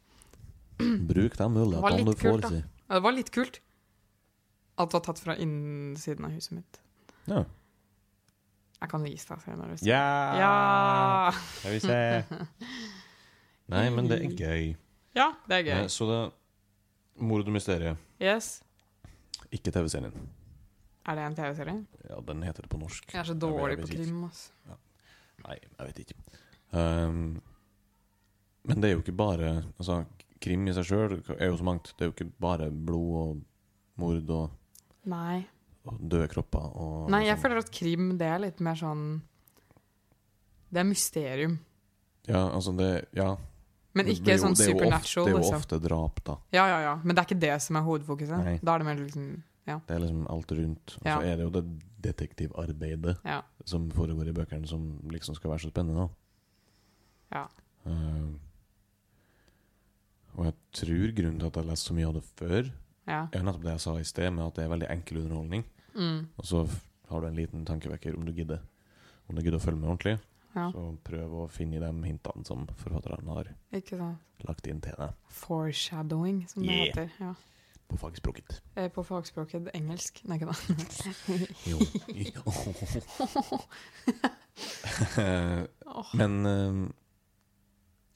[SPEAKER 2] Bruk de
[SPEAKER 1] Det var litt
[SPEAKER 2] mulighetene du
[SPEAKER 1] kult,
[SPEAKER 2] får,
[SPEAKER 1] da.
[SPEAKER 2] si.
[SPEAKER 1] Ja, det var litt kult. Alt var tatt fra innsiden av huset mitt.
[SPEAKER 2] Ja.
[SPEAKER 1] Jeg kan vise deg senere. hvis du-
[SPEAKER 2] Ja!
[SPEAKER 1] Ja.
[SPEAKER 2] Jeg vil se. Nei, men det er gøy.
[SPEAKER 1] ja! Det er
[SPEAKER 2] Nei,
[SPEAKER 1] gøy.
[SPEAKER 2] så det Mord og mysterium.
[SPEAKER 1] Yes.
[SPEAKER 2] Ikke TV-serien.
[SPEAKER 1] Er det en TV-serie?
[SPEAKER 2] Ja, den heter det på norsk.
[SPEAKER 1] Jeg er så
[SPEAKER 2] vet-
[SPEAKER 1] dårlig
[SPEAKER 2] jeg
[SPEAKER 1] på
[SPEAKER 2] vet ikke.
[SPEAKER 1] krim. Altså.
[SPEAKER 2] Nei, jeg vet ikke. Ehm, men det er jo ikke bare altså, Krim i seg sjøl er jo så mangt. Det er jo ikke bare blod og mord og,
[SPEAKER 1] Nei.
[SPEAKER 2] og døde kropper og
[SPEAKER 1] Nei, jeg
[SPEAKER 2] sånn.
[SPEAKER 1] føler at krim det er litt mer sånn Det er mysterium.
[SPEAKER 2] Ja, altså det Ja.
[SPEAKER 1] Men
[SPEAKER 2] Det
[SPEAKER 1] ikke
[SPEAKER 2] blir jo-
[SPEAKER 1] sånn
[SPEAKER 2] det er jo
[SPEAKER 1] supernatural.
[SPEAKER 2] Ofte, det er jo
[SPEAKER 1] liksom.
[SPEAKER 2] ofte drap, da.
[SPEAKER 1] Ja, ja, ja. Men det er ikke det som er hovedfokuset.
[SPEAKER 2] Nei.
[SPEAKER 1] Da er det mer liksom
[SPEAKER 2] Det er liksom alt rundt. Og
[SPEAKER 1] Ja.
[SPEAKER 2] så er det jo det detektivarbeidet
[SPEAKER 1] Ja.
[SPEAKER 2] som foregår i bøkene, som liksom skal være så spennende. da.
[SPEAKER 1] Ja.
[SPEAKER 2] Eh, og jeg tror grunnen til at jeg leste så mye av det før,
[SPEAKER 1] Ja.
[SPEAKER 2] Det er jo nettopp det jeg sa i sted, med at det er veldig enkel underholdning.
[SPEAKER 1] Mm.
[SPEAKER 2] Og så f- har du en liten tankevekker om du gidder. Om du gidder å følge med ordentlig,
[SPEAKER 1] Ja.
[SPEAKER 2] så prøv å finne i de hintene som forfatterne har
[SPEAKER 1] Ikke sant.
[SPEAKER 2] lagt inn til deg
[SPEAKER 1] Foreshadowing, som det
[SPEAKER 2] Yeah.
[SPEAKER 1] heter. Ja.
[SPEAKER 2] på fagspråket.
[SPEAKER 1] Eh, På fagspråket engelsk. Nei, ikke da.
[SPEAKER 2] Jo. Men eh,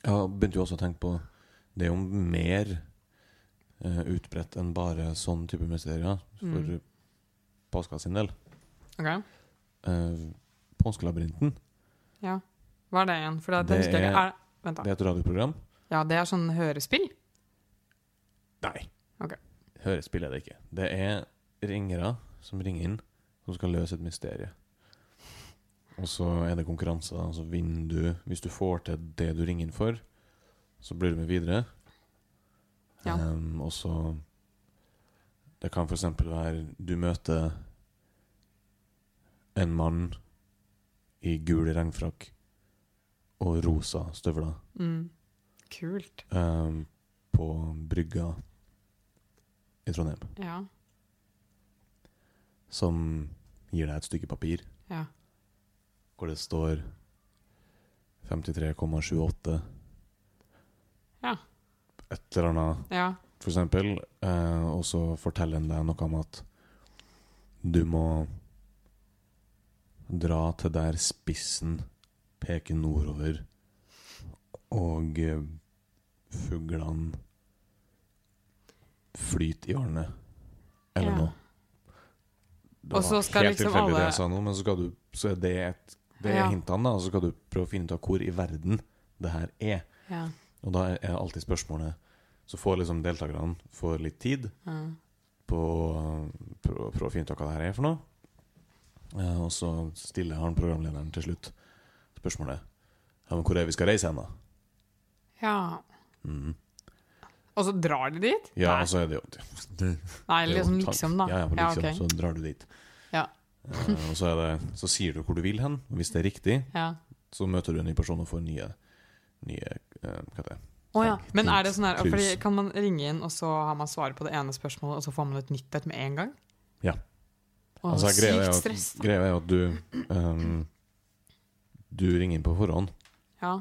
[SPEAKER 2] jeg begynte jo også å tenke på Det er jo mer eh, utbredt enn bare sånn type mysterier for
[SPEAKER 1] Mm.
[SPEAKER 2] påska sin del.
[SPEAKER 1] Ok,
[SPEAKER 2] Eh, Påskelabyrinten,
[SPEAKER 1] ja. Hva er det igjen? For det, det,
[SPEAKER 2] Det
[SPEAKER 1] husker jeg ikke. Er, vent da.
[SPEAKER 2] det er et radioprogram.
[SPEAKER 1] Ja, det er sånn hørespill?
[SPEAKER 2] Nei.
[SPEAKER 1] Ok.
[SPEAKER 2] Hørespill er det ikke. Det er ringere som ringer inn, som skal løse et mysterium. Og så er det konkurranse. da, Altså vinner du Hvis du får til det du ringer inn for, så blir du med videre.
[SPEAKER 1] Ja.
[SPEAKER 2] Ehm, og så Det kan f.eks. være du møter en mann i gul regnfrakk og rosa støvler
[SPEAKER 1] Mm. Kult.
[SPEAKER 2] ehm, på brygga i Trondheim.
[SPEAKER 1] Ja.
[SPEAKER 2] som gir deg et stykke papir
[SPEAKER 1] ja.
[SPEAKER 2] hvor det står 53,78
[SPEAKER 1] Ja.
[SPEAKER 2] et eller annet,
[SPEAKER 1] Ja.
[SPEAKER 2] for eksempel. Eh, og så forteller han deg noe om at du må dra til der spissen peker nordover, og eh, fuglene flyter i vannet. Eller
[SPEAKER 1] Ja.
[SPEAKER 2] noe. Det
[SPEAKER 1] Og
[SPEAKER 2] var
[SPEAKER 1] så skal
[SPEAKER 2] helt
[SPEAKER 1] liksom
[SPEAKER 2] tilfeldig det
[SPEAKER 1] alle-
[SPEAKER 2] jeg sa nå, men så, skal du, så er det, et, det er
[SPEAKER 1] Ja.
[SPEAKER 2] hintene, da. Og så skal du prøve å finne ut av hvor i verden det her er.
[SPEAKER 1] Ja.
[SPEAKER 2] Og da er alltid spørsmålet Så får liksom deltakerne får litt tid
[SPEAKER 1] ja.
[SPEAKER 2] på å prø- prøve å finne ut av hva det her er for noe. Eh, Og så stiller han programlederen til slutt spørsmålet Ja, men hvor er vi skal reise hen, da?
[SPEAKER 1] ja.
[SPEAKER 2] Mhm.
[SPEAKER 1] Og så drar de dit?
[SPEAKER 2] Ja,
[SPEAKER 1] Nei.
[SPEAKER 2] og så er det jo
[SPEAKER 1] Nei,
[SPEAKER 2] det er
[SPEAKER 1] liksom
[SPEAKER 2] jo tank-
[SPEAKER 1] liksom, da.
[SPEAKER 2] Ja, ja, på
[SPEAKER 1] Ja,
[SPEAKER 2] liksom,
[SPEAKER 1] ok.
[SPEAKER 2] så drar du dit.
[SPEAKER 1] Ja.
[SPEAKER 2] Eh, og så, er det, så sier du hvor du vil hen. og Hvis det er riktig,
[SPEAKER 1] Ja.
[SPEAKER 2] så møter du en ny person og får nye, nye eh, Hva heter det?
[SPEAKER 1] Å ja.
[SPEAKER 2] Tenk,
[SPEAKER 1] Men
[SPEAKER 2] tenk,
[SPEAKER 1] er det sånn her fordi
[SPEAKER 2] krus.
[SPEAKER 1] Kan man ringe inn, og så har man svaret på det ene spørsmålet, og så får man et nytt et med en gang?
[SPEAKER 2] Ja.
[SPEAKER 1] Å,
[SPEAKER 2] Altså, greia er jo
[SPEAKER 1] sykt
[SPEAKER 2] at,
[SPEAKER 1] stress. Da.
[SPEAKER 2] greia er jo at du ehm, Du ringer inn på forhånd,
[SPEAKER 1] Ja.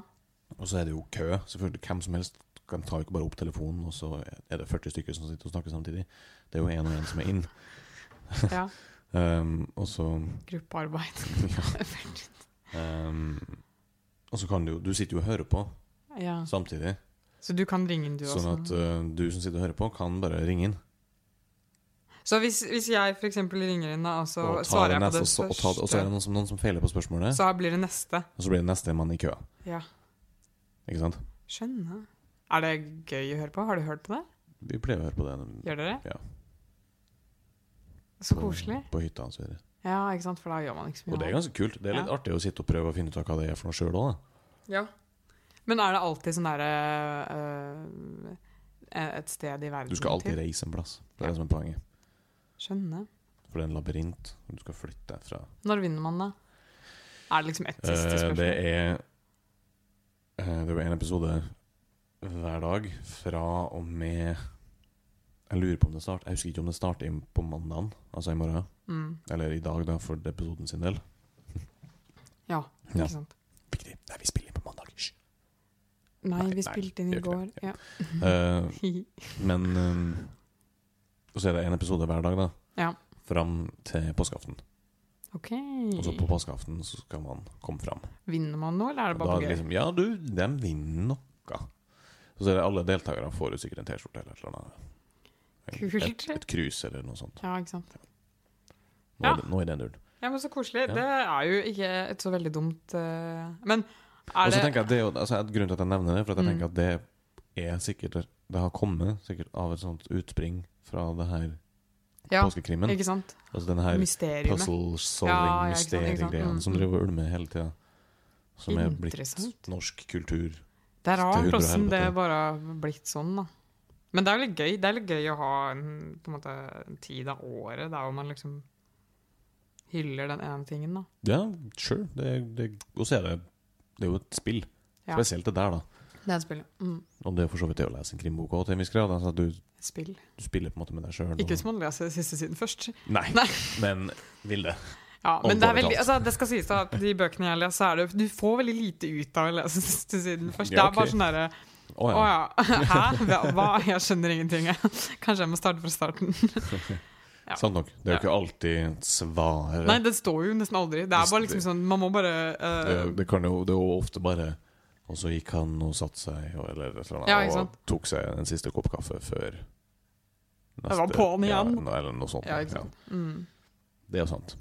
[SPEAKER 2] og så er det jo kø. Selvfølgelig, Hvem som helst kan ta jo ikke bare opp telefonen, og så er det 40 stykker som sitter og snakker samtidig. Det er jo én og én som er inn.
[SPEAKER 1] ja.
[SPEAKER 2] Ehm, og så
[SPEAKER 1] Gruppearbeid.
[SPEAKER 2] ja, ehm, Og så kan du jo Du sitter jo og hører på
[SPEAKER 1] ja.
[SPEAKER 2] samtidig.
[SPEAKER 1] Så du kan ringe inn, du
[SPEAKER 2] Sånn
[SPEAKER 1] også?
[SPEAKER 2] at eh, du som sitter og hører på, kan bare ringe inn.
[SPEAKER 1] Så hvis, hvis jeg for eksempel ringer inn, da, og så
[SPEAKER 2] Og, ta
[SPEAKER 1] svarer
[SPEAKER 2] det
[SPEAKER 1] jeg på
[SPEAKER 2] neste,
[SPEAKER 1] det
[SPEAKER 2] og, så, og, ta, det- og så er det noen som, noen som feiler på spørsmålet,
[SPEAKER 1] så blir det neste.
[SPEAKER 2] og så blir det neste mann i køa.
[SPEAKER 1] Ja.
[SPEAKER 2] Ikke sant?
[SPEAKER 1] Skjønner. Er det gøy å høre på? Har du hørt på det?
[SPEAKER 2] Vi pleier å høre på det.
[SPEAKER 1] Gjør dere?
[SPEAKER 2] Ja.
[SPEAKER 1] Så
[SPEAKER 2] på-
[SPEAKER 1] koselig.
[SPEAKER 2] På hytta hans. videre.
[SPEAKER 1] Ja, ikke sant, for da gjør man ikke så mye.
[SPEAKER 2] Og det er
[SPEAKER 1] annet.
[SPEAKER 2] ganske kult. Det er litt
[SPEAKER 1] Ja.
[SPEAKER 2] artig å sitte og prøve å finne ut av hva det er for noe sjøl òg.
[SPEAKER 1] Ja. Men er det alltid sånn derre øh, Et sted i verden
[SPEAKER 2] Du skal alltid
[SPEAKER 1] til?
[SPEAKER 2] reise en plass. Det er det som er poenget.
[SPEAKER 1] Skjønner.
[SPEAKER 2] For det er en labyrint. og Du skal flytte derfra.
[SPEAKER 1] Når vinner man, da? Er det liksom ett siste
[SPEAKER 2] Eh,
[SPEAKER 1] spørsmål?
[SPEAKER 2] det er eh, Det er jo en episode hver dag fra og med Jeg lurer på om det starter Jeg husker ikke om det starter i- på mandagen, altså i morgen.
[SPEAKER 1] mm.
[SPEAKER 2] Eller i dag, da, for episoden sin del.
[SPEAKER 1] Ja,
[SPEAKER 2] Ja.
[SPEAKER 1] ikke sant.
[SPEAKER 2] Viktig. Nei, vi spiller inn på mandag. Hysj.
[SPEAKER 1] Nei,
[SPEAKER 2] Nei,
[SPEAKER 1] vi
[SPEAKER 2] nei,
[SPEAKER 1] spilte inn i
[SPEAKER 2] det
[SPEAKER 1] går.
[SPEAKER 2] gjør ikke
[SPEAKER 1] Ja.
[SPEAKER 2] Eh, men eh, Og så er det en episode hver dag, da.
[SPEAKER 1] Ja.
[SPEAKER 2] Fram til påskeaften.
[SPEAKER 1] OK.
[SPEAKER 2] Og så
[SPEAKER 1] Mm.
[SPEAKER 2] på påskeaften så skal man komme fram.
[SPEAKER 1] Vinner man nå, eller er det
[SPEAKER 2] Da
[SPEAKER 1] bare
[SPEAKER 2] er
[SPEAKER 1] på
[SPEAKER 2] det
[SPEAKER 1] gøy?
[SPEAKER 2] liksom, ja, du, de vinner noe. Så er det alle deltakerne får jo sikkert en T-skjorte eller et eller annet.
[SPEAKER 1] Kult.
[SPEAKER 2] Et, et krus eller noe sånt.
[SPEAKER 1] Ja, ikke sant.
[SPEAKER 2] Nå
[SPEAKER 1] Ja.
[SPEAKER 2] er det, nå er det en duren.
[SPEAKER 1] Ja, men så koselig.
[SPEAKER 2] Ja.
[SPEAKER 1] Det er jo ikke et så veldig dumt øh, Men er
[SPEAKER 2] Og
[SPEAKER 1] det
[SPEAKER 2] så tenker jeg at det er jo altså, et grunn til at jeg nevner det, for at jeg
[SPEAKER 1] Mm.
[SPEAKER 2] tenker at det er sikkert Det har kommet sikkert av et sånt utspring fra det her
[SPEAKER 1] Ja,
[SPEAKER 2] påskekrimmen.
[SPEAKER 1] ikke sant?
[SPEAKER 2] Altså den her
[SPEAKER 1] Mysteriene.
[SPEAKER 2] puzzle
[SPEAKER 1] Ja, ja, ikke sant, ikke sant.
[SPEAKER 2] solving-mysteriegreia
[SPEAKER 1] Mm,
[SPEAKER 2] som
[SPEAKER 1] mm.
[SPEAKER 2] driver og ulmer hele tida. Som er blitt
[SPEAKER 1] Interessant.
[SPEAKER 2] norsk kultur.
[SPEAKER 1] Det er
[SPEAKER 2] Til
[SPEAKER 1] rart
[SPEAKER 2] hundre og
[SPEAKER 1] åssen det
[SPEAKER 2] helvete.
[SPEAKER 1] bare har blitt sånn, da. Men det er jo litt gøy. Det er litt gøy å ha en, på en, måte, en tid av året der hvor man liksom hyller den ene tingen, da.
[SPEAKER 2] Ja, sure. Det, det, og så er det, det er jo et spill.
[SPEAKER 1] Ja.
[SPEAKER 2] Spesielt det der, da.
[SPEAKER 1] Det er et spill. Mm.
[SPEAKER 2] Og det er for så vidt det å lese en krimbok òg, til en viss grad. Altså, at du,
[SPEAKER 1] Spill.
[SPEAKER 2] du spiller på en måte med deg sjøl.
[SPEAKER 1] Ikke hvis man leser siste siden først.
[SPEAKER 2] Nei,
[SPEAKER 1] Nei.
[SPEAKER 2] men vil det.
[SPEAKER 1] Ja, men det, er veldig,
[SPEAKER 2] Overtalt.
[SPEAKER 1] altså, det skal sies da at de bøkene jeg leser, så er det, du får veldig lite ut av å lese siste siden først. Det
[SPEAKER 2] Ja,
[SPEAKER 1] er bare
[SPEAKER 2] ok.
[SPEAKER 1] sånn derre
[SPEAKER 2] Å
[SPEAKER 1] Å
[SPEAKER 2] ja.
[SPEAKER 1] ja. Hæ? Hva- Hva? Jeg skjønner ingenting. jeg. Kanskje jeg må starte fra starten. ja.
[SPEAKER 2] Sant nok. Det er jo ikke alltid svaret.
[SPEAKER 1] Nei, det står jo nesten aldri. Det er bare liksom sånn Man må bare
[SPEAKER 2] det,
[SPEAKER 1] eh,
[SPEAKER 2] det, kan jo, det er jo ofte bare Og så gikk han og satte seg og, eller, et eller annet,
[SPEAKER 1] Ja, ikke
[SPEAKER 2] og
[SPEAKER 1] sant?
[SPEAKER 2] tok seg en siste kopp kaffe før
[SPEAKER 1] Det var på'n
[SPEAKER 2] ja,
[SPEAKER 1] igjen.
[SPEAKER 2] eller noe sånt.
[SPEAKER 1] Ja, ikke
[SPEAKER 2] ja.
[SPEAKER 1] sant. Mm.
[SPEAKER 2] Det er jo sant.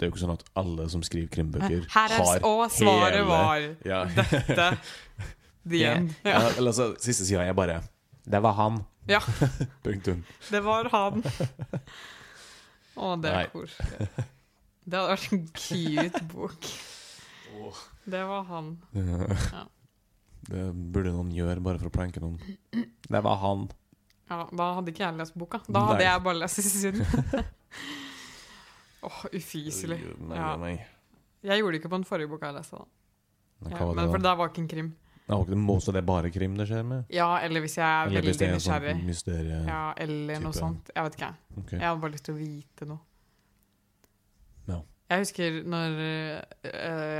[SPEAKER 2] Det er jo ikke sånn at alle som skriver krimbøker,
[SPEAKER 1] Her er
[SPEAKER 2] har
[SPEAKER 1] Og svaret
[SPEAKER 2] hele-
[SPEAKER 1] var
[SPEAKER 2] ja.
[SPEAKER 1] dette. The end.
[SPEAKER 2] Ja.
[SPEAKER 1] Ja.
[SPEAKER 2] Eller så siste sida er bare Det var han.
[SPEAKER 1] ja.
[SPEAKER 2] Punktum.
[SPEAKER 1] Det var han. Å, det
[SPEAKER 2] Nei.
[SPEAKER 1] er koselig. Det hadde vært en cute bok. Det var han.
[SPEAKER 2] Ja. Det burde noen gjøre bare for å pranke noen. Det var han.
[SPEAKER 1] Ja, da hadde ikke jeg lest boka. Da hadde
[SPEAKER 2] Nei.
[SPEAKER 1] jeg bare lest siste siden. Åh, ufyselig.
[SPEAKER 2] Nei,
[SPEAKER 1] Ja.
[SPEAKER 2] nei.
[SPEAKER 1] Jeg gjorde det ikke på den forrige boka jeg leste. da.
[SPEAKER 2] Hva
[SPEAKER 1] Ja,
[SPEAKER 2] var
[SPEAKER 1] men for
[SPEAKER 2] det da?
[SPEAKER 1] der var ikke en krim.
[SPEAKER 2] Det var ikke det måte det er bare krim det skjer med?
[SPEAKER 1] Ja, eller hvis jeg er
[SPEAKER 2] Eller hvis
[SPEAKER 1] veldig
[SPEAKER 2] det er
[SPEAKER 1] nysgjerrig.
[SPEAKER 2] sånn mysterie...
[SPEAKER 1] Ja, eller noe
[SPEAKER 2] type.
[SPEAKER 1] sånt. Jeg vet ikke. jeg.
[SPEAKER 2] Ok.
[SPEAKER 1] Jeg hadde bare lyst til å vite noe.
[SPEAKER 2] Ja.
[SPEAKER 1] Jeg husker når eh,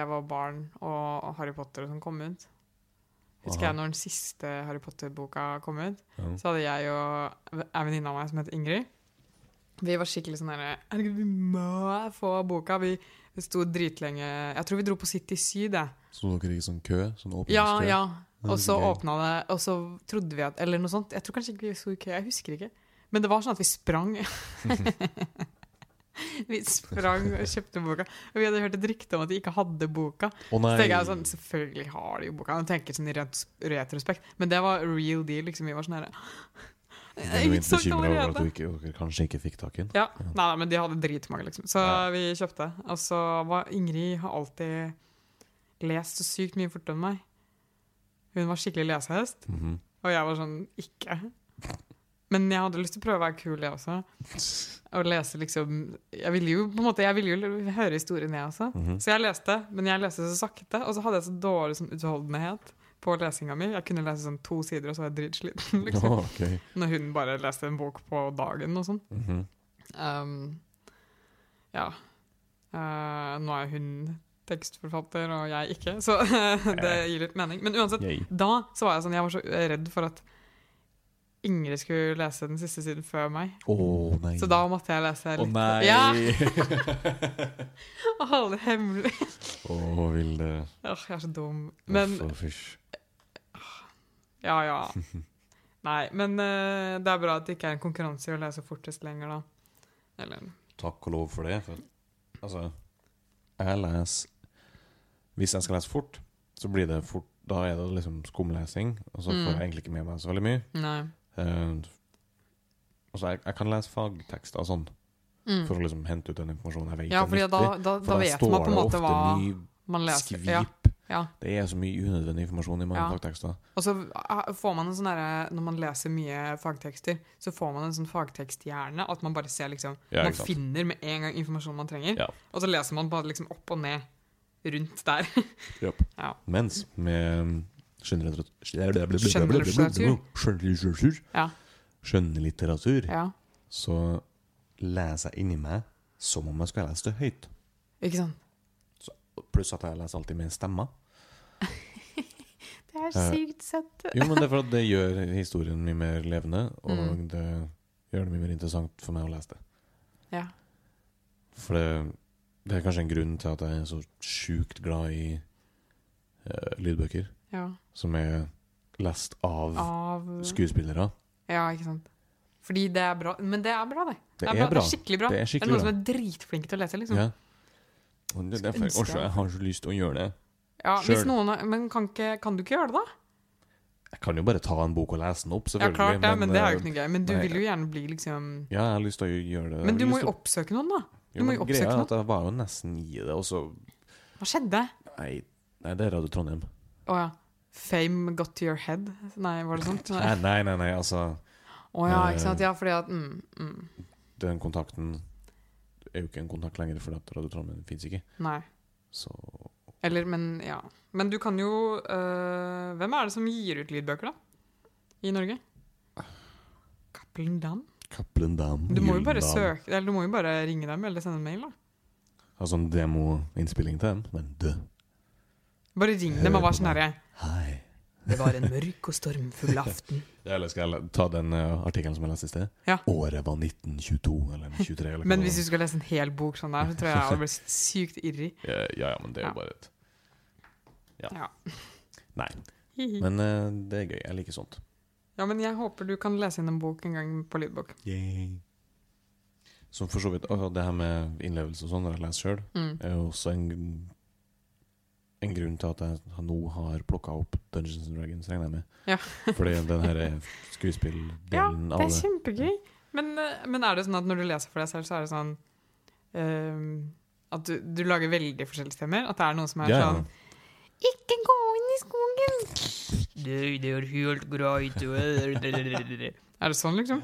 [SPEAKER 1] jeg var barn og Harry Potter og sånn kom ut. Husker
[SPEAKER 2] Aha.
[SPEAKER 1] jeg når den siste Harry Potter-boka kom ut,
[SPEAKER 2] Ja.
[SPEAKER 1] så hadde jeg og en venninne av meg som het Ingrid. Vi var skikkelig sånn herre Herregud, vi må få boka! Vi sto dritlenge Jeg tror vi dro på City Syd, jeg.
[SPEAKER 2] Så dere ikke sånn kø? Sånn
[SPEAKER 1] Ja,
[SPEAKER 2] åpningskø?
[SPEAKER 1] ja.
[SPEAKER 2] Det er
[SPEAKER 1] Og så
[SPEAKER 2] gøy.
[SPEAKER 1] åpna det, og så trodde vi at Eller noe sånt. Jeg tror kanskje ikke vi sto i kø, jeg husker ikke. Men det var sånn at vi sprang. vi sprang og kjøpte boka. Og vi hadde hørt et rykte om at de ikke hadde boka.
[SPEAKER 2] Å nei!
[SPEAKER 1] Så tenker jeg sånn, Selvfølgelig har de jo boka, jeg tenker sånn i ret- retrospekt. Men det var real deal. liksom Vi var sånn herre
[SPEAKER 2] Jeg er genuint
[SPEAKER 1] utsolgt
[SPEAKER 2] bekymret over at
[SPEAKER 1] allerede.
[SPEAKER 2] du ikke, dere kanskje ikke fikk tak i den.
[SPEAKER 1] ja, nei, nei, men de hadde dritmange, liksom. Så
[SPEAKER 2] Ja.
[SPEAKER 1] vi kjøpte. Og så var Ingrid har alltid lest så sykt mye fortere enn meg. Hun var skikkelig lesehest.
[SPEAKER 2] Mhm.
[SPEAKER 1] Og jeg var sånn Ikke. Men jeg hadde lyst til å prøve å være kul, jeg også. Og lese liksom Jeg ville jo på en måte, jeg ville jo høre historien, jeg også.
[SPEAKER 2] Mhm.
[SPEAKER 1] Så jeg leste, men jeg leste så sakte. Og så hadde jeg så dårlig sånn utholdenhet på lesinga mi. Jeg kunne lese sånn to sider, og så var jeg dritsliten. Liksom.
[SPEAKER 2] Å, ok.
[SPEAKER 1] Når hun bare leste en bok på dagen og sånn.
[SPEAKER 2] Mhm.
[SPEAKER 1] Um, ja. Eh, nå er hun tekstforfatter, og jeg ikke, så det gir litt mening. Men uansett,
[SPEAKER 2] Yay.
[SPEAKER 1] da så var jeg sånn, jeg var så redd for at Ingrid skulle lese den siste siden før meg.
[SPEAKER 2] Å nei!
[SPEAKER 1] Så da måtte jeg lese
[SPEAKER 2] Å
[SPEAKER 1] litt.
[SPEAKER 2] nei!
[SPEAKER 1] Ja,
[SPEAKER 2] Å,
[SPEAKER 1] og holde det hemmelig.
[SPEAKER 2] Vilde.
[SPEAKER 1] Åh, jeg er så dum. Men
[SPEAKER 2] Uff, uff, uff.
[SPEAKER 1] ja, ja. Nei, men eh, det er bra at det ikke er en konkurranse i å lese fortest lenger, da. Eller
[SPEAKER 2] Takk og lov for det. For, altså, jeg leser Hvis jeg skal lese fort, så blir det fort Da er det liksom skumlesing, og så får
[SPEAKER 1] Mm.
[SPEAKER 2] jeg egentlig ikke med meg så veldig mye.
[SPEAKER 1] Nei.
[SPEAKER 2] Eh, altså, jeg, jeg kan lese fagtekster og sånn,
[SPEAKER 1] Mm.
[SPEAKER 2] for å liksom hente ut den informasjonen jeg vet
[SPEAKER 1] Ja,
[SPEAKER 2] er
[SPEAKER 1] fordi da,
[SPEAKER 2] nyttig.
[SPEAKER 1] da,
[SPEAKER 2] For
[SPEAKER 1] da
[SPEAKER 2] der
[SPEAKER 1] vet
[SPEAKER 2] står
[SPEAKER 1] man på en
[SPEAKER 2] det
[SPEAKER 1] måte
[SPEAKER 2] ofte
[SPEAKER 1] hva
[SPEAKER 2] mye
[SPEAKER 1] man leser.
[SPEAKER 2] skvip.
[SPEAKER 1] Ja, ja.
[SPEAKER 2] Det er så mye unødvendig informasjon i mange
[SPEAKER 1] Ja.
[SPEAKER 2] fagtekster.
[SPEAKER 1] Og så eh, får man en sånn derre Når man leser mye fagtekster, så får man en sånn fagteksthjerne. At man bare ser liksom
[SPEAKER 2] Ja,
[SPEAKER 1] Man
[SPEAKER 2] ikke sant.
[SPEAKER 1] finner med en gang informasjonen man trenger.
[SPEAKER 2] Ja.
[SPEAKER 1] Og så leser man bare liksom opp og ned rundt der. Ja.
[SPEAKER 2] Mens med skjønnlitteratur
[SPEAKER 1] Skjønnlitteratur.
[SPEAKER 2] Skjønnlitteratur
[SPEAKER 1] Ja.
[SPEAKER 2] Skjønnlitteratur
[SPEAKER 1] ja.
[SPEAKER 2] så leser jeg inni meg som om jeg skal lese det høyt.
[SPEAKER 1] Ikke sant?
[SPEAKER 2] Pluss at jeg leser alltid med stemma.
[SPEAKER 1] Det er
[SPEAKER 2] Eh,
[SPEAKER 1] sykt søtt.
[SPEAKER 2] Jo, men det er for at det gjør historien mye mer levende, og
[SPEAKER 1] Mm.
[SPEAKER 2] det gjør det mye mer interessant for meg å lese det.
[SPEAKER 1] Ja.
[SPEAKER 2] For det, det er kanskje en grunn til at jeg er så sjukt glad i eh, lydbøker
[SPEAKER 1] ja.
[SPEAKER 2] som er lest av
[SPEAKER 1] Av
[SPEAKER 2] skuespillere.
[SPEAKER 1] Ja, ikke sant. Fordi det er bra. Men det er bra, det.
[SPEAKER 2] Det er bra.
[SPEAKER 1] Det er skikkelig bra.
[SPEAKER 2] Det er
[SPEAKER 1] Det er
[SPEAKER 2] skikkelig
[SPEAKER 1] noen
[SPEAKER 2] bra.
[SPEAKER 1] som er dritflinke til å lese, liksom.
[SPEAKER 2] Ja. Og det er
[SPEAKER 1] Skulle
[SPEAKER 2] derfor jeg,
[SPEAKER 1] ønske
[SPEAKER 2] også, jeg har så lyst til å gjøre det.
[SPEAKER 1] Ja, hvis
[SPEAKER 2] Sjøl.
[SPEAKER 1] noen har, men kan, ikke, kan du ikke gjøre det, da?
[SPEAKER 2] Jeg kan jo bare ta en bok og lese den opp,
[SPEAKER 1] Ja,
[SPEAKER 2] selvfølgelig.
[SPEAKER 1] klart det, men det er jo
[SPEAKER 2] eh,
[SPEAKER 1] ikke noe gøy. Men du
[SPEAKER 2] nei.
[SPEAKER 1] vil jo gjerne bli liksom
[SPEAKER 2] Ja, jeg har lyst til å gjøre det.
[SPEAKER 1] Men du
[SPEAKER 2] Jeg har
[SPEAKER 1] må jo
[SPEAKER 2] lyst til å-
[SPEAKER 1] oppsøke noen, da. Du
[SPEAKER 2] Jo,
[SPEAKER 1] må
[SPEAKER 2] men
[SPEAKER 1] jo
[SPEAKER 2] greia
[SPEAKER 1] oppsøke
[SPEAKER 2] er
[SPEAKER 1] noen.
[SPEAKER 2] at jeg var jo nesten i det, og så
[SPEAKER 1] Hva skjedde?
[SPEAKER 2] Nei, nei det er Radio Trondheim.
[SPEAKER 1] Å ja. Fame got to your head? Nei, var det sånt? Nei.
[SPEAKER 2] Nei, nei, nei, nei altså
[SPEAKER 1] Å ja, ikke sant. Ja, fordi at mm, mm,
[SPEAKER 2] Den kontakten er jo ikke en kontakt lenger, fordi at Radio Trondheim fins ikke.
[SPEAKER 1] Nei.
[SPEAKER 2] Så
[SPEAKER 1] Eller, men ja. Men du kan jo øh, Hvem er det som gir ut lydbøker, da? I Norge? Cappelen Dam?
[SPEAKER 2] Cappelen Dam.
[SPEAKER 1] Du må jo bare
[SPEAKER 2] Gyldendal.
[SPEAKER 1] søke Eller du må jo bare ringe dem eller sende en mail, da.
[SPEAKER 2] Altså en demoinnspilling til dem. Men du,
[SPEAKER 1] Bare ring dem og vær sånn herre
[SPEAKER 2] hei.
[SPEAKER 1] Det var en mørk og stormfull aften.
[SPEAKER 2] Eller skal jeg ta den eh, artikkelen som jeg leste i sted?
[SPEAKER 1] Ja.
[SPEAKER 2] Året var 1922 eller 23. Eller hva
[SPEAKER 1] Men
[SPEAKER 2] det
[SPEAKER 1] hvis
[SPEAKER 2] var.
[SPEAKER 1] du skulle lese en hel bok sånn der, så tror jeg jeg hadde blitt sykt irri.
[SPEAKER 2] ja, ja, ja, men det
[SPEAKER 1] Ja.
[SPEAKER 2] er jo bare et
[SPEAKER 1] Ja.
[SPEAKER 2] Nei.
[SPEAKER 1] Hihi.
[SPEAKER 2] Men eh, det er gøy. Jeg liker sånt.
[SPEAKER 1] ja, men jeg håper du kan lese inn en bok en gang på lydbok.
[SPEAKER 2] Som for så vidt altså, Det her med innlevelse og sånn, når jeg leser sjøl,
[SPEAKER 1] Mm.
[SPEAKER 2] er jo også en, en grunn til at jeg nå har plukka opp Dungeons and Dragons, regner jeg med.
[SPEAKER 1] Ja.
[SPEAKER 2] Fordi den her
[SPEAKER 1] Ja,
[SPEAKER 2] skuespilldelen
[SPEAKER 1] det
[SPEAKER 2] av
[SPEAKER 1] er
[SPEAKER 2] det
[SPEAKER 1] kjempegøy. Men, eh, men er det sånn at når du leser for deg selv, så er det sånn eh, At du, du lager veldig forskjellige stemmer? At det er noen som er
[SPEAKER 2] Ja, ja.
[SPEAKER 1] sånn Ikke gå inn i skogen! Det er helt greit. Er det sånn, liksom?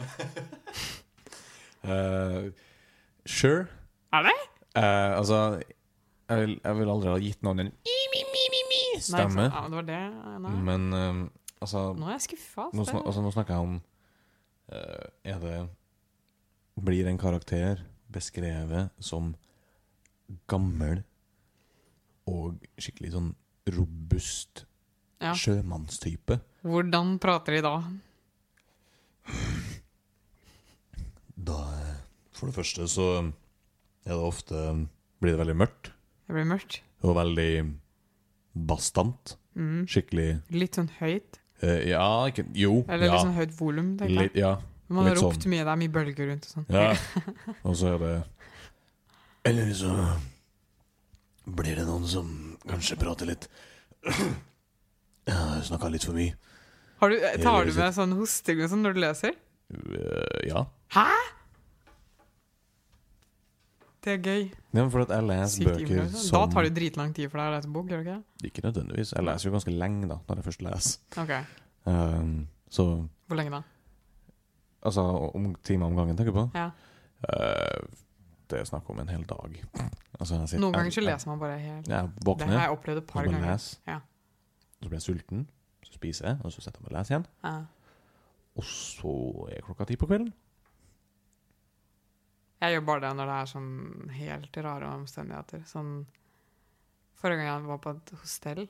[SPEAKER 2] Eh, sure.
[SPEAKER 1] Er det?
[SPEAKER 2] Eh, altså jeg vil, jeg vil aldri ha gitt noen en
[SPEAKER 1] Nei, ikke sant.
[SPEAKER 2] stemme,
[SPEAKER 1] Ja, det var det. Nei.
[SPEAKER 2] men eh, altså,
[SPEAKER 1] Nå er jeg skuffa.
[SPEAKER 2] nå, snak, altså Nå snakker jeg om eh, Er det Blir en karakter beskrevet som gammel og skikkelig sånn robust
[SPEAKER 1] Ja.
[SPEAKER 2] sjømannstype?
[SPEAKER 1] Hvordan prater de da?
[SPEAKER 2] Da eh, For det første så er det ofte Blir det veldig mørkt
[SPEAKER 1] Det blir mørkt.
[SPEAKER 2] og veldig bastant.
[SPEAKER 1] Mm.
[SPEAKER 2] Skikkelig
[SPEAKER 1] Litt sånn høyt.
[SPEAKER 2] eh, Ja, ikke Jo.
[SPEAKER 1] Eller
[SPEAKER 2] ja.
[SPEAKER 1] litt sånn høyt volum. tenker jeg.
[SPEAKER 2] Litt, ja.
[SPEAKER 1] Man har
[SPEAKER 2] litt
[SPEAKER 1] ropt
[SPEAKER 2] sånn.
[SPEAKER 1] mye, det er mye bølger rundt og sånn.
[SPEAKER 2] ja. Og så er det Eller så blir det noen som kanskje prater litt Jeg snakka litt for mye.
[SPEAKER 1] Har du, tar du
[SPEAKER 2] Eller-
[SPEAKER 1] med sånn hosting og sånn når du leser?
[SPEAKER 2] Eh, ja.
[SPEAKER 1] Det er gøy.
[SPEAKER 2] Nei, men for at jeg leser
[SPEAKER 1] Sykt
[SPEAKER 2] bøker
[SPEAKER 1] imponerende.
[SPEAKER 2] som
[SPEAKER 1] liksom. Da tar det jo dritlang tid for deg å lese bok, gjør det ikke det?
[SPEAKER 2] Ikke nødvendigvis. Jeg leser jo ganske lenge, da, når jeg først leser.
[SPEAKER 1] Ok,
[SPEAKER 2] Eh, så
[SPEAKER 1] Hvor lenge da?
[SPEAKER 2] Altså, om timer om gangen, tenker jeg på.
[SPEAKER 1] Ja.
[SPEAKER 2] Eh, det er snakk om en hel dag. Altså, jeg sitter-
[SPEAKER 1] Noen ganger så
[SPEAKER 2] jeg- jeg-
[SPEAKER 1] leser man bare helt
[SPEAKER 2] Jeg
[SPEAKER 1] Det
[SPEAKER 2] våkner,
[SPEAKER 1] har jeg opplevd et
[SPEAKER 2] og så
[SPEAKER 1] par
[SPEAKER 2] bare
[SPEAKER 1] ganger.
[SPEAKER 2] leser.
[SPEAKER 1] Ja.
[SPEAKER 2] Så blir jeg sulten, så spiser jeg, og så setter jeg meg og leser igjen.
[SPEAKER 1] Ja.
[SPEAKER 2] Og så er klokka ti på kvelden.
[SPEAKER 1] Jeg gjør bare det når det er sånn helt rare omstendigheter. Sånn Forrige gang jeg var på et hostell,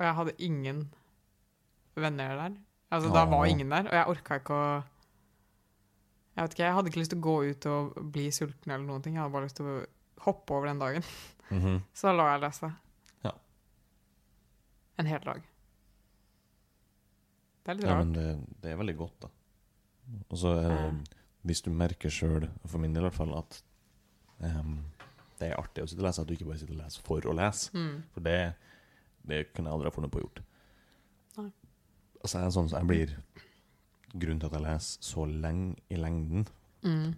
[SPEAKER 1] og jeg hadde ingen venner der. Altså, da var
[SPEAKER 2] Åh.
[SPEAKER 1] ingen der, og jeg orka ikke å Jeg vet ikke, jeg hadde ikke lyst til å gå ut og bli sulten eller noen ting. Jeg hadde bare lyst til å hoppe over den dagen.
[SPEAKER 2] Mhm.
[SPEAKER 1] Så da la jeg lese.
[SPEAKER 2] Ja.
[SPEAKER 1] En hel dag. Det er litt
[SPEAKER 2] ja,
[SPEAKER 1] rart.
[SPEAKER 2] men det, det er veldig godt, da. Og så er det, hvis du merker sjøl, for min del i hvert fall, at em, det er artig å sitte og lese, at du ikke bare sitter og leser for å lese.
[SPEAKER 1] Mm.
[SPEAKER 2] For det, det kunne jeg aldri ha funnet på å gjort.
[SPEAKER 1] Nei.
[SPEAKER 2] Altså, jeg er sånn som jeg blir Grunnen til at jeg leser så lenge i lengden
[SPEAKER 1] Mm.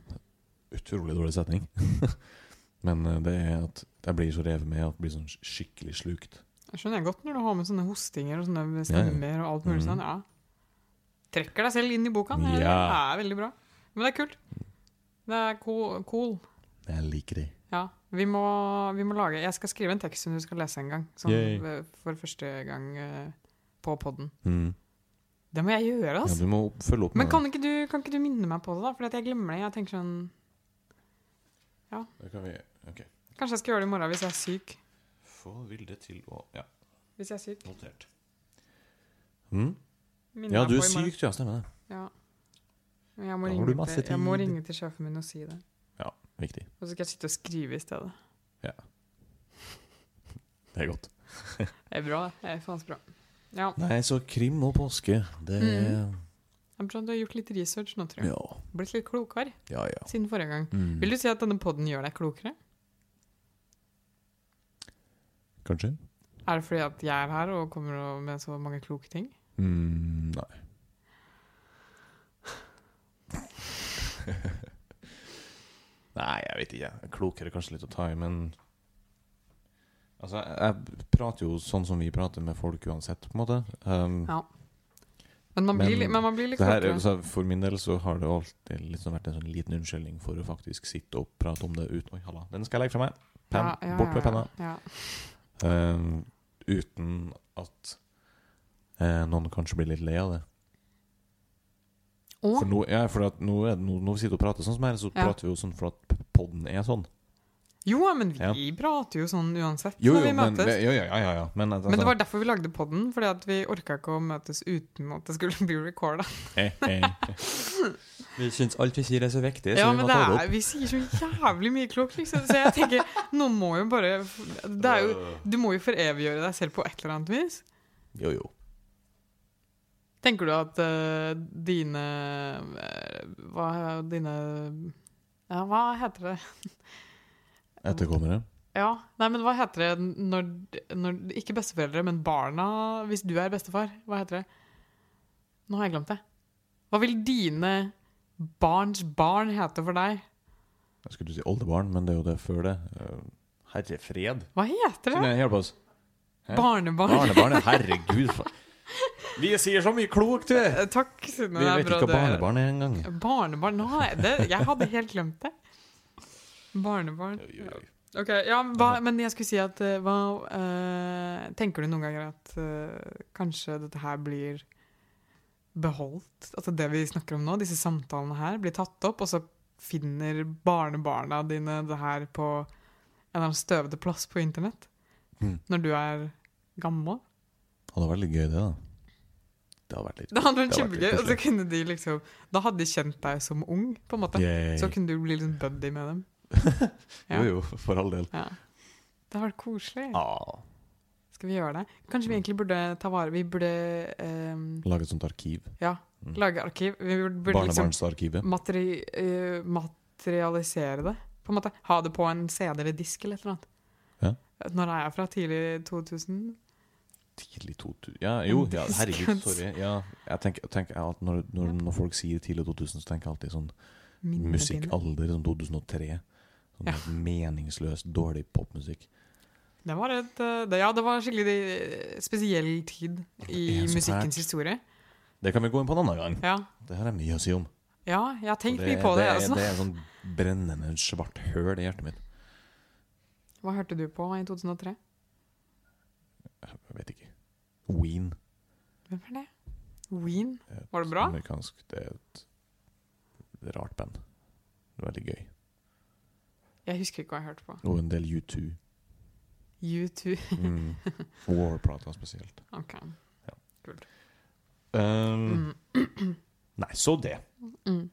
[SPEAKER 2] Utrolig dårlig setning. Men eh, det er at jeg blir så revet med at jeg blir sånn sk- skikkelig slukt.
[SPEAKER 1] Jeg skjønner godt når du har med sånne hostinger og sånne
[SPEAKER 2] Ja, ja.
[SPEAKER 1] stemmer og alt mulig
[SPEAKER 2] Mhm.
[SPEAKER 1] sånn. Ja. Trekker deg selv inn i boka. Det er-
[SPEAKER 2] Ja.
[SPEAKER 1] det er veldig bra. Men det er kult. Det er cool. cool.
[SPEAKER 2] Jeg liker det.
[SPEAKER 1] Ja. Vi må, vi må lage Jeg skal skrive en tekst som du skal lese en gang. Sånn
[SPEAKER 2] Yay.
[SPEAKER 1] ved- for første gang eh, på poden.
[SPEAKER 2] Mm.
[SPEAKER 1] Det må jeg gjøre,
[SPEAKER 2] Ja,
[SPEAKER 1] altså.
[SPEAKER 2] du må opp- følge opp
[SPEAKER 1] Men
[SPEAKER 2] med
[SPEAKER 1] kan ikke, du, kan ikke du minne meg på det, da? For at jeg glemmer det. Jeg tenker sånn
[SPEAKER 2] det. Kan vi... Ok.
[SPEAKER 1] Kanskje jeg skal gjøre det i morgen hvis jeg er syk.
[SPEAKER 2] Få Vilde til å Ja,
[SPEAKER 1] Hvis jeg er syk.
[SPEAKER 2] notert. Mm.
[SPEAKER 1] Minne
[SPEAKER 2] Ja,
[SPEAKER 1] meg
[SPEAKER 2] du
[SPEAKER 1] på
[SPEAKER 2] er
[SPEAKER 1] i morgen.
[SPEAKER 2] syk, ja. Stemmer det.
[SPEAKER 1] Ja. Men Jeg må,
[SPEAKER 2] Da har
[SPEAKER 1] ringe
[SPEAKER 2] du masse
[SPEAKER 1] til, jeg må
[SPEAKER 2] tid.
[SPEAKER 1] ringe til sjefen min og si det.
[SPEAKER 2] Viktig.
[SPEAKER 1] Og så skal jeg sitte og skrive i stedet.
[SPEAKER 2] Det er godt.
[SPEAKER 1] Det er bra, det. det. er faen så bra. Ja,
[SPEAKER 2] Nei, så krim og påske, det er
[SPEAKER 1] Mm. jeg tror Du har gjort litt research nå, tror jeg.
[SPEAKER 2] Ja,
[SPEAKER 1] Blitt litt klokere
[SPEAKER 2] ja. ja.
[SPEAKER 1] siden forrige gang.
[SPEAKER 2] Mm.
[SPEAKER 1] Vil du si at denne podden gjør deg klokere?
[SPEAKER 2] Kanskje?
[SPEAKER 1] Er det fordi at jeg er her og kommer og- med så mange kloke ting?
[SPEAKER 2] Mm, nei. nei, jeg vet ikke. Klokere kanskje litt å ta i, men Altså, jeg jeg prater jo sånn som vi prater med folk uansett, på en måte. Um,
[SPEAKER 1] Ja. Men man blir,
[SPEAKER 2] Men
[SPEAKER 1] litt- men man blir litt
[SPEAKER 2] det her,
[SPEAKER 1] klokere.
[SPEAKER 2] altså, for min del så har det alltid liksom vært en sånn liten unnskyldning for å faktisk sitte og prate om det uten Oi, halla, den skal jeg legge fra meg. Penn.
[SPEAKER 1] Ja, ja,
[SPEAKER 2] Bort med
[SPEAKER 1] ja,
[SPEAKER 2] penna.
[SPEAKER 1] Ja.
[SPEAKER 2] eh, uten at eh, noen kanskje blir litt lei av det.
[SPEAKER 1] Å,
[SPEAKER 2] For nå, ja, for at nå, er, det- nå, nå sitter vi og prater sånn som her, så
[SPEAKER 1] Ja.
[SPEAKER 2] prater vi jo sånn for at podden er sånn.
[SPEAKER 1] jo, ja, men vi
[SPEAKER 2] Ja.
[SPEAKER 1] prater jo sånn uansett
[SPEAKER 2] Jo, jo,
[SPEAKER 1] når vi
[SPEAKER 2] men,
[SPEAKER 1] møtes.
[SPEAKER 2] det- jo, ja, ja, ja, ja. Men, altså,
[SPEAKER 1] Men det var derfor vi lagde podden, fordi at vi orka ikke å møtes uten at det skulle bli recorda.
[SPEAKER 2] eh, eh.
[SPEAKER 4] Vi syns alt vi sier er så viktig, så
[SPEAKER 1] Ja,
[SPEAKER 4] vi
[SPEAKER 1] men
[SPEAKER 4] må
[SPEAKER 1] det
[SPEAKER 4] ta det
[SPEAKER 1] er,
[SPEAKER 4] opp.
[SPEAKER 1] vi sier så jævlig mye klokt, liksom. Så jeg tenker, nå må jo bare det er jo, Du må jo foreviggjøre deg selv på et eller annet vis.
[SPEAKER 4] Jo, jo.
[SPEAKER 1] Tenker du at eh, dine eh, Hva dine Ja, hva heter det?
[SPEAKER 2] Etterkommere.
[SPEAKER 1] Ja, nei, men hva heter det når, når Ikke besteforeldre, men barna Hvis du er bestefar, hva heter det? Nå har jeg glemt det. Hva vil dine barns barn hete for deg?
[SPEAKER 2] Jeg skulle si oldebarn, men det er jo det før det. Eh, Herre fred.
[SPEAKER 1] Hva heter det?
[SPEAKER 2] Nei, hjelp oss. Hæ?
[SPEAKER 1] Barnebarn.
[SPEAKER 2] Barnebarn, ja, herregud. fa- Vi sier så mye klokt, vi!
[SPEAKER 1] Eh, Takk, Synne.
[SPEAKER 2] Vi
[SPEAKER 1] det er
[SPEAKER 2] vet
[SPEAKER 1] bra
[SPEAKER 2] ikke hva
[SPEAKER 1] det-
[SPEAKER 2] barnebarn er engang.
[SPEAKER 1] Barnebarn Nå har jeg det. Jeg hadde helt glemt det. Barnebarn. Ok, ja, men hva, Men jeg skulle si at eh, hva, eh, Tenker du noen ganger at eh, kanskje dette her blir beholdt? Altså det vi snakker om nå, disse samtalene her, blir tatt opp, og så finner barnebarna dine det her på en eller annen støvete plass på internett?
[SPEAKER 2] Mm.
[SPEAKER 1] Når du er gammel?
[SPEAKER 2] Det hadde vært litt gøy, det, da. Det hadde vært litt
[SPEAKER 1] Det hadde vært
[SPEAKER 2] Det hadde vært
[SPEAKER 1] kjempegøy.
[SPEAKER 2] litt
[SPEAKER 1] Og så kunne de liksom Da hadde de kjent deg som ung, på en måte.
[SPEAKER 2] Yay.
[SPEAKER 1] Så kunne du bli liksom buddy med dem. Ja.
[SPEAKER 2] Jo, jo, for all del.
[SPEAKER 1] Ja. Det har vært koselig.
[SPEAKER 2] Ah.
[SPEAKER 1] Skal vi gjøre det? Kanskje
[SPEAKER 2] Mm.
[SPEAKER 1] vi egentlig burde ta vare Vi burde ehm,
[SPEAKER 2] Lage et sånt arkiv.
[SPEAKER 1] ja, lage arkiv. Vi burde, burde liksom
[SPEAKER 2] Barnebarnsarkivet.
[SPEAKER 1] materi, eh, materialisere det. På en måte Ha det på en CD eller disk eller et eller annet.
[SPEAKER 2] Ja.
[SPEAKER 1] Når er jeg fra? Tidlig 2000?
[SPEAKER 2] Tidlig 2000 Ja, jo, ja,
[SPEAKER 1] Diskens.
[SPEAKER 2] herregud, sorry. Ja, jeg tenker, tenker jeg at når, når, når folk sier tidlig 2000, så tenker jeg alltid sånn
[SPEAKER 1] Minnet dine.
[SPEAKER 2] musikkalder, sånn 2003. Sånn
[SPEAKER 1] Ja.
[SPEAKER 2] helt meningsløs, dårlig popmusikk.
[SPEAKER 1] Det var et eh, det, Ja, det var skikkelig eh, spesiell tid i
[SPEAKER 2] er så
[SPEAKER 1] musikkens
[SPEAKER 2] fælt.
[SPEAKER 1] historie.
[SPEAKER 2] Det kan vi gå inn på en annen gang.
[SPEAKER 1] Ja.
[SPEAKER 2] Det her er mye å si om.
[SPEAKER 1] ja jeg har tenkt
[SPEAKER 2] Det,
[SPEAKER 1] mye på det.
[SPEAKER 2] det, er-
[SPEAKER 1] altså.
[SPEAKER 2] det er en sånn brennende svart høl i hjertet mitt.
[SPEAKER 1] Hva hørte du på i 2003?
[SPEAKER 2] Jeg vet ikke. Ween.
[SPEAKER 1] Hvem er det? Ween?
[SPEAKER 2] Et
[SPEAKER 1] Var det bra?
[SPEAKER 2] Amerikansk. Det er et det er et rart band. Det er Veldig gøy.
[SPEAKER 1] Jeg husker ikke hva jeg hørte på.
[SPEAKER 2] Og en del U2.
[SPEAKER 1] U2.
[SPEAKER 2] Mm. War-plata spesielt.
[SPEAKER 1] Ok. Mm.
[SPEAKER 2] Um, Nei, så det.
[SPEAKER 1] Mm.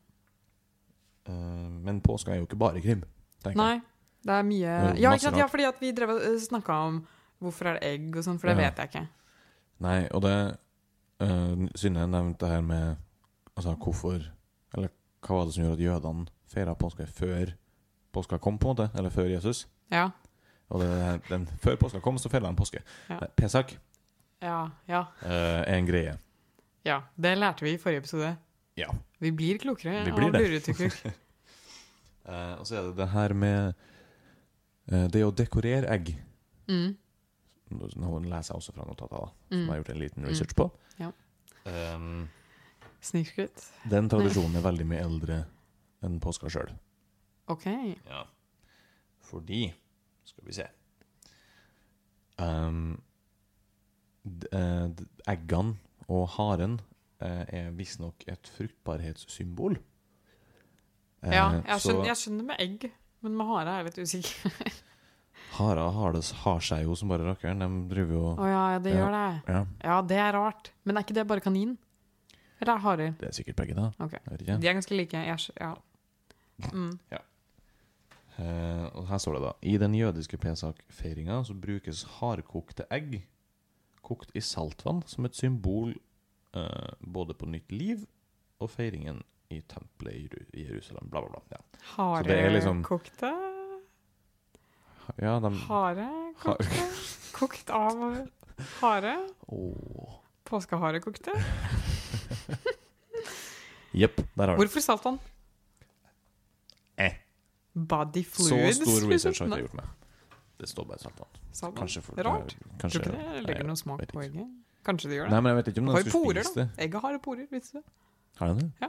[SPEAKER 2] Uh, men påske er jo ikke bare krim. tenker
[SPEAKER 1] Nei, det er mye
[SPEAKER 2] Det er jo
[SPEAKER 1] Ja,
[SPEAKER 2] masse
[SPEAKER 1] ikke sant? ja fordi at vi drev og snakka om hvorfor er det egg og sånn, for det
[SPEAKER 2] Ja.
[SPEAKER 1] vet jeg ikke.
[SPEAKER 2] jeg. Nei, og det uh, Synne nevnte her med Altså hvorfor Eller hva var det som gjorde at jødene feira påske før påska kom, på en måte? Eller før Jesus?
[SPEAKER 1] Ja.
[SPEAKER 2] Og det, er den, før påska kom, så feira de påske.
[SPEAKER 1] Ja.
[SPEAKER 2] Nei, Pesak
[SPEAKER 1] Ja. Ja.
[SPEAKER 2] uh, er en greie.
[SPEAKER 1] ja. Det lærte vi i forrige episode.
[SPEAKER 2] Ja.
[SPEAKER 1] Vi blir klokere
[SPEAKER 2] Vi blir
[SPEAKER 1] av
[SPEAKER 2] det.
[SPEAKER 1] luretukker.
[SPEAKER 2] Eh, og så er det det her med eh, Det å dekorere egg.
[SPEAKER 1] Mm.
[SPEAKER 2] Nå nå leser jeg også fra notatet, da, som
[SPEAKER 1] Mm.
[SPEAKER 2] jeg har gjort en liten research på.
[SPEAKER 1] Ja.
[SPEAKER 2] Ehm,
[SPEAKER 1] Snikskryt.
[SPEAKER 2] den tradisjonen er veldig mye eldre enn påska sjøl.
[SPEAKER 1] OK.
[SPEAKER 2] Ja. Fordi Skal vi se Ehm, d- eh, d- Eggene og haren eh, er visstnok et fruktbarhetssymbol. Eh,
[SPEAKER 1] Ja, jeg
[SPEAKER 2] så-
[SPEAKER 1] skjønner, jeg skjønner med egg, men med hare er jeg litt usikker.
[SPEAKER 2] Harer har, det, har seg jo som bare rakkeren. De driver jo
[SPEAKER 1] Å ja, det gjør det.
[SPEAKER 2] ja.
[SPEAKER 1] Ja, det er rart. Men er ikke det bare kanin? Eller er det harer?
[SPEAKER 2] Det er sikkert begge, da.
[SPEAKER 1] Ok.
[SPEAKER 2] Jeg vet ikke.
[SPEAKER 1] De er ganske like. Jeg, skj- ja. Mm.
[SPEAKER 2] Eh, og her står det, da. I den jødiske pesak-feiringa så brukes hardkokte egg kokt i saltvann som et symbol eh, både på nytt liv og feiringen i tempelet i Jeru- i Jerusalem. Bla, bla, bla. Ja, Så det er liksom- Sånn
[SPEAKER 1] Harekokte?
[SPEAKER 2] ja de
[SPEAKER 1] Harekokte? Kokt av hare?
[SPEAKER 2] Åh.
[SPEAKER 1] Påskeharekokte?
[SPEAKER 2] Jepp, der har du det.
[SPEAKER 1] Hvorfor saltvann?
[SPEAKER 2] Eh.
[SPEAKER 1] Body
[SPEAKER 2] Så
[SPEAKER 1] fluids?
[SPEAKER 2] stor research har
[SPEAKER 1] liksom.
[SPEAKER 2] jeg ikke gjort med. Det står bare saltvann.
[SPEAKER 1] Saltvann?
[SPEAKER 2] Kanskje for
[SPEAKER 1] Rart.
[SPEAKER 2] Kanskje,
[SPEAKER 1] Tror ikke det legger
[SPEAKER 2] Nei,
[SPEAKER 1] noe smak
[SPEAKER 2] vet
[SPEAKER 1] på
[SPEAKER 2] ikke.
[SPEAKER 1] egget. Kanskje det gjør det.
[SPEAKER 2] Nei, men jeg vet ikke om
[SPEAKER 1] har
[SPEAKER 2] den
[SPEAKER 1] jo
[SPEAKER 2] skulle
[SPEAKER 1] porer,
[SPEAKER 2] spise
[SPEAKER 1] da.
[SPEAKER 2] det.
[SPEAKER 1] Egget har porer, visste du.
[SPEAKER 2] Har den det?
[SPEAKER 1] Ja.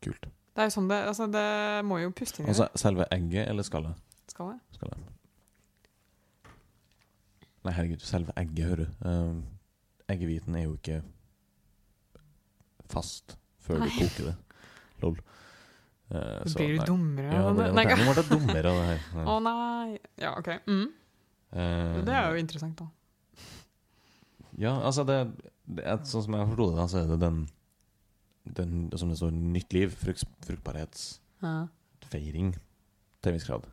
[SPEAKER 2] Kult.
[SPEAKER 1] Det er jo sånn det Altså, det må jo puste inn i
[SPEAKER 2] Altså selve egget eller skallet?
[SPEAKER 1] det. Skal det?
[SPEAKER 2] Skal jeg. Nei, herregud, selve egget, hører du. Eh, eggehviten er jo ikke fast før
[SPEAKER 1] Nei.
[SPEAKER 2] du koker det. Lol. Eh,
[SPEAKER 1] Det
[SPEAKER 2] så,
[SPEAKER 1] blir
[SPEAKER 2] nei.
[SPEAKER 1] jo dummere.
[SPEAKER 2] Ja,
[SPEAKER 1] av
[SPEAKER 2] det,
[SPEAKER 1] det.
[SPEAKER 2] nå
[SPEAKER 1] Nei,
[SPEAKER 2] ble det dummere av det her.
[SPEAKER 1] Å nei. Ja, OK. Mm.
[SPEAKER 2] Eh,
[SPEAKER 1] Det er jo interessant, da.
[SPEAKER 2] Ja, altså det, det er, Sånn som jeg forsto det, da, så er det den, den Som det står, nytt liv, frukt, fruktbarhetsfeiring,
[SPEAKER 1] Ja.
[SPEAKER 2] til en viss grad.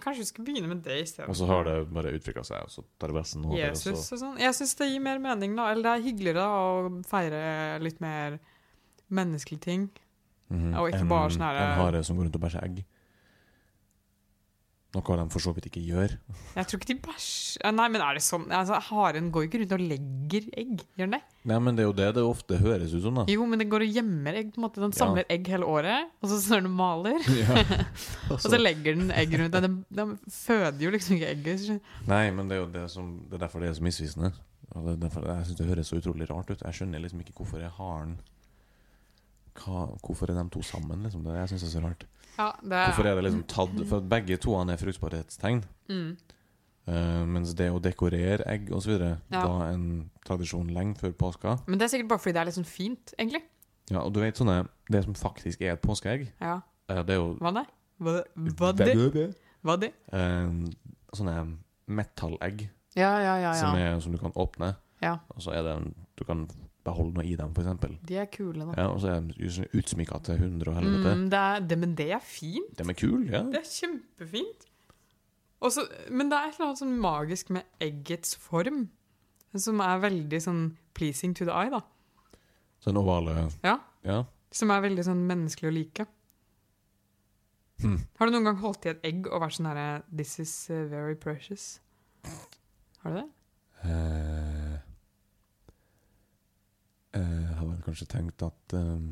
[SPEAKER 1] Kanskje vi skal begynne med det isteden.
[SPEAKER 2] Og så har det bare utvikla seg, og så tar det resten over. og
[SPEAKER 1] Jesus og sånn. Jeg syns det gir mer mening, da. Eller det er hyggeligere da, å feire litt mer menneskelige ting.
[SPEAKER 2] Mhm.
[SPEAKER 1] Og ikke
[SPEAKER 2] En-
[SPEAKER 1] bare sånn her-
[SPEAKER 2] En hare som går rundt og bæsjer egg. Noe de for så vidt ikke gjør.
[SPEAKER 1] Jeg tror ikke de bæsjer Nei, men er det sånn altså, Haren går jo ikke rundt og legger egg, gjør den det?
[SPEAKER 2] Nei, men det er jo det det ofte høres ut som, da.
[SPEAKER 1] Jo, men den går og gjemmer egg. på en måte Den
[SPEAKER 2] Ja.
[SPEAKER 1] samler egg hele året, og så står den og maler. Og så legger den egg rundt den. Den den føder jo liksom ikke egget. så-
[SPEAKER 2] Nei, men det er jo det som Det er derfor det er så misvisende. Og det er derfor Jeg syns det høres så utrolig rart ut. Jeg skjønner liksom ikke hvorfor er haren hva, Hvorfor er de to sammen, liksom? Det, jeg syns det er så rart.
[SPEAKER 1] Ja, det
[SPEAKER 2] Hvorfor er det liksom tatt For at begge to han er fruktbarhetstegn.
[SPEAKER 1] Mm.
[SPEAKER 2] Eh, mens det å dekorere egg osv. videre
[SPEAKER 1] Ja.
[SPEAKER 2] var en tradisjon lenge før påska.
[SPEAKER 1] Men det er sikkert bare fordi det er litt sånn fint, egentlig.
[SPEAKER 2] Ja, og du vet sånne Det som faktisk er et påskeegg,
[SPEAKER 1] Ja,
[SPEAKER 2] eh, det er jo
[SPEAKER 1] Hva det? Hva, hva det? Hva det?
[SPEAKER 2] Eh, sånne metallegg
[SPEAKER 1] Ja, ja, ja.
[SPEAKER 2] som,
[SPEAKER 1] ja.
[SPEAKER 2] er, som du kan åpne,
[SPEAKER 1] ja.
[SPEAKER 2] og så er det en, du kan beholde noe i dem, f.eks.
[SPEAKER 1] De er kule, da.
[SPEAKER 2] Ja, og så er de jo sånn utsmykka til 100 og helvete.
[SPEAKER 1] Mm, det er, det, men det er fint.
[SPEAKER 2] De er kule, ja.
[SPEAKER 1] Det er kjempefint. Og så- men det er et eller annet sånn magisk med eggets form, som er veldig sånn pleasing to the eye, da.
[SPEAKER 2] Sånn ovale
[SPEAKER 1] Ja.
[SPEAKER 2] ja.
[SPEAKER 1] Som er veldig sånn menneskelig å like.
[SPEAKER 2] Hmm.
[SPEAKER 1] Har du noen gang holdt i et egg og vært sånn herre This is eh, very precious. Har du det?
[SPEAKER 2] Eh, eh, jeg har vel kanskje tenkt at eh,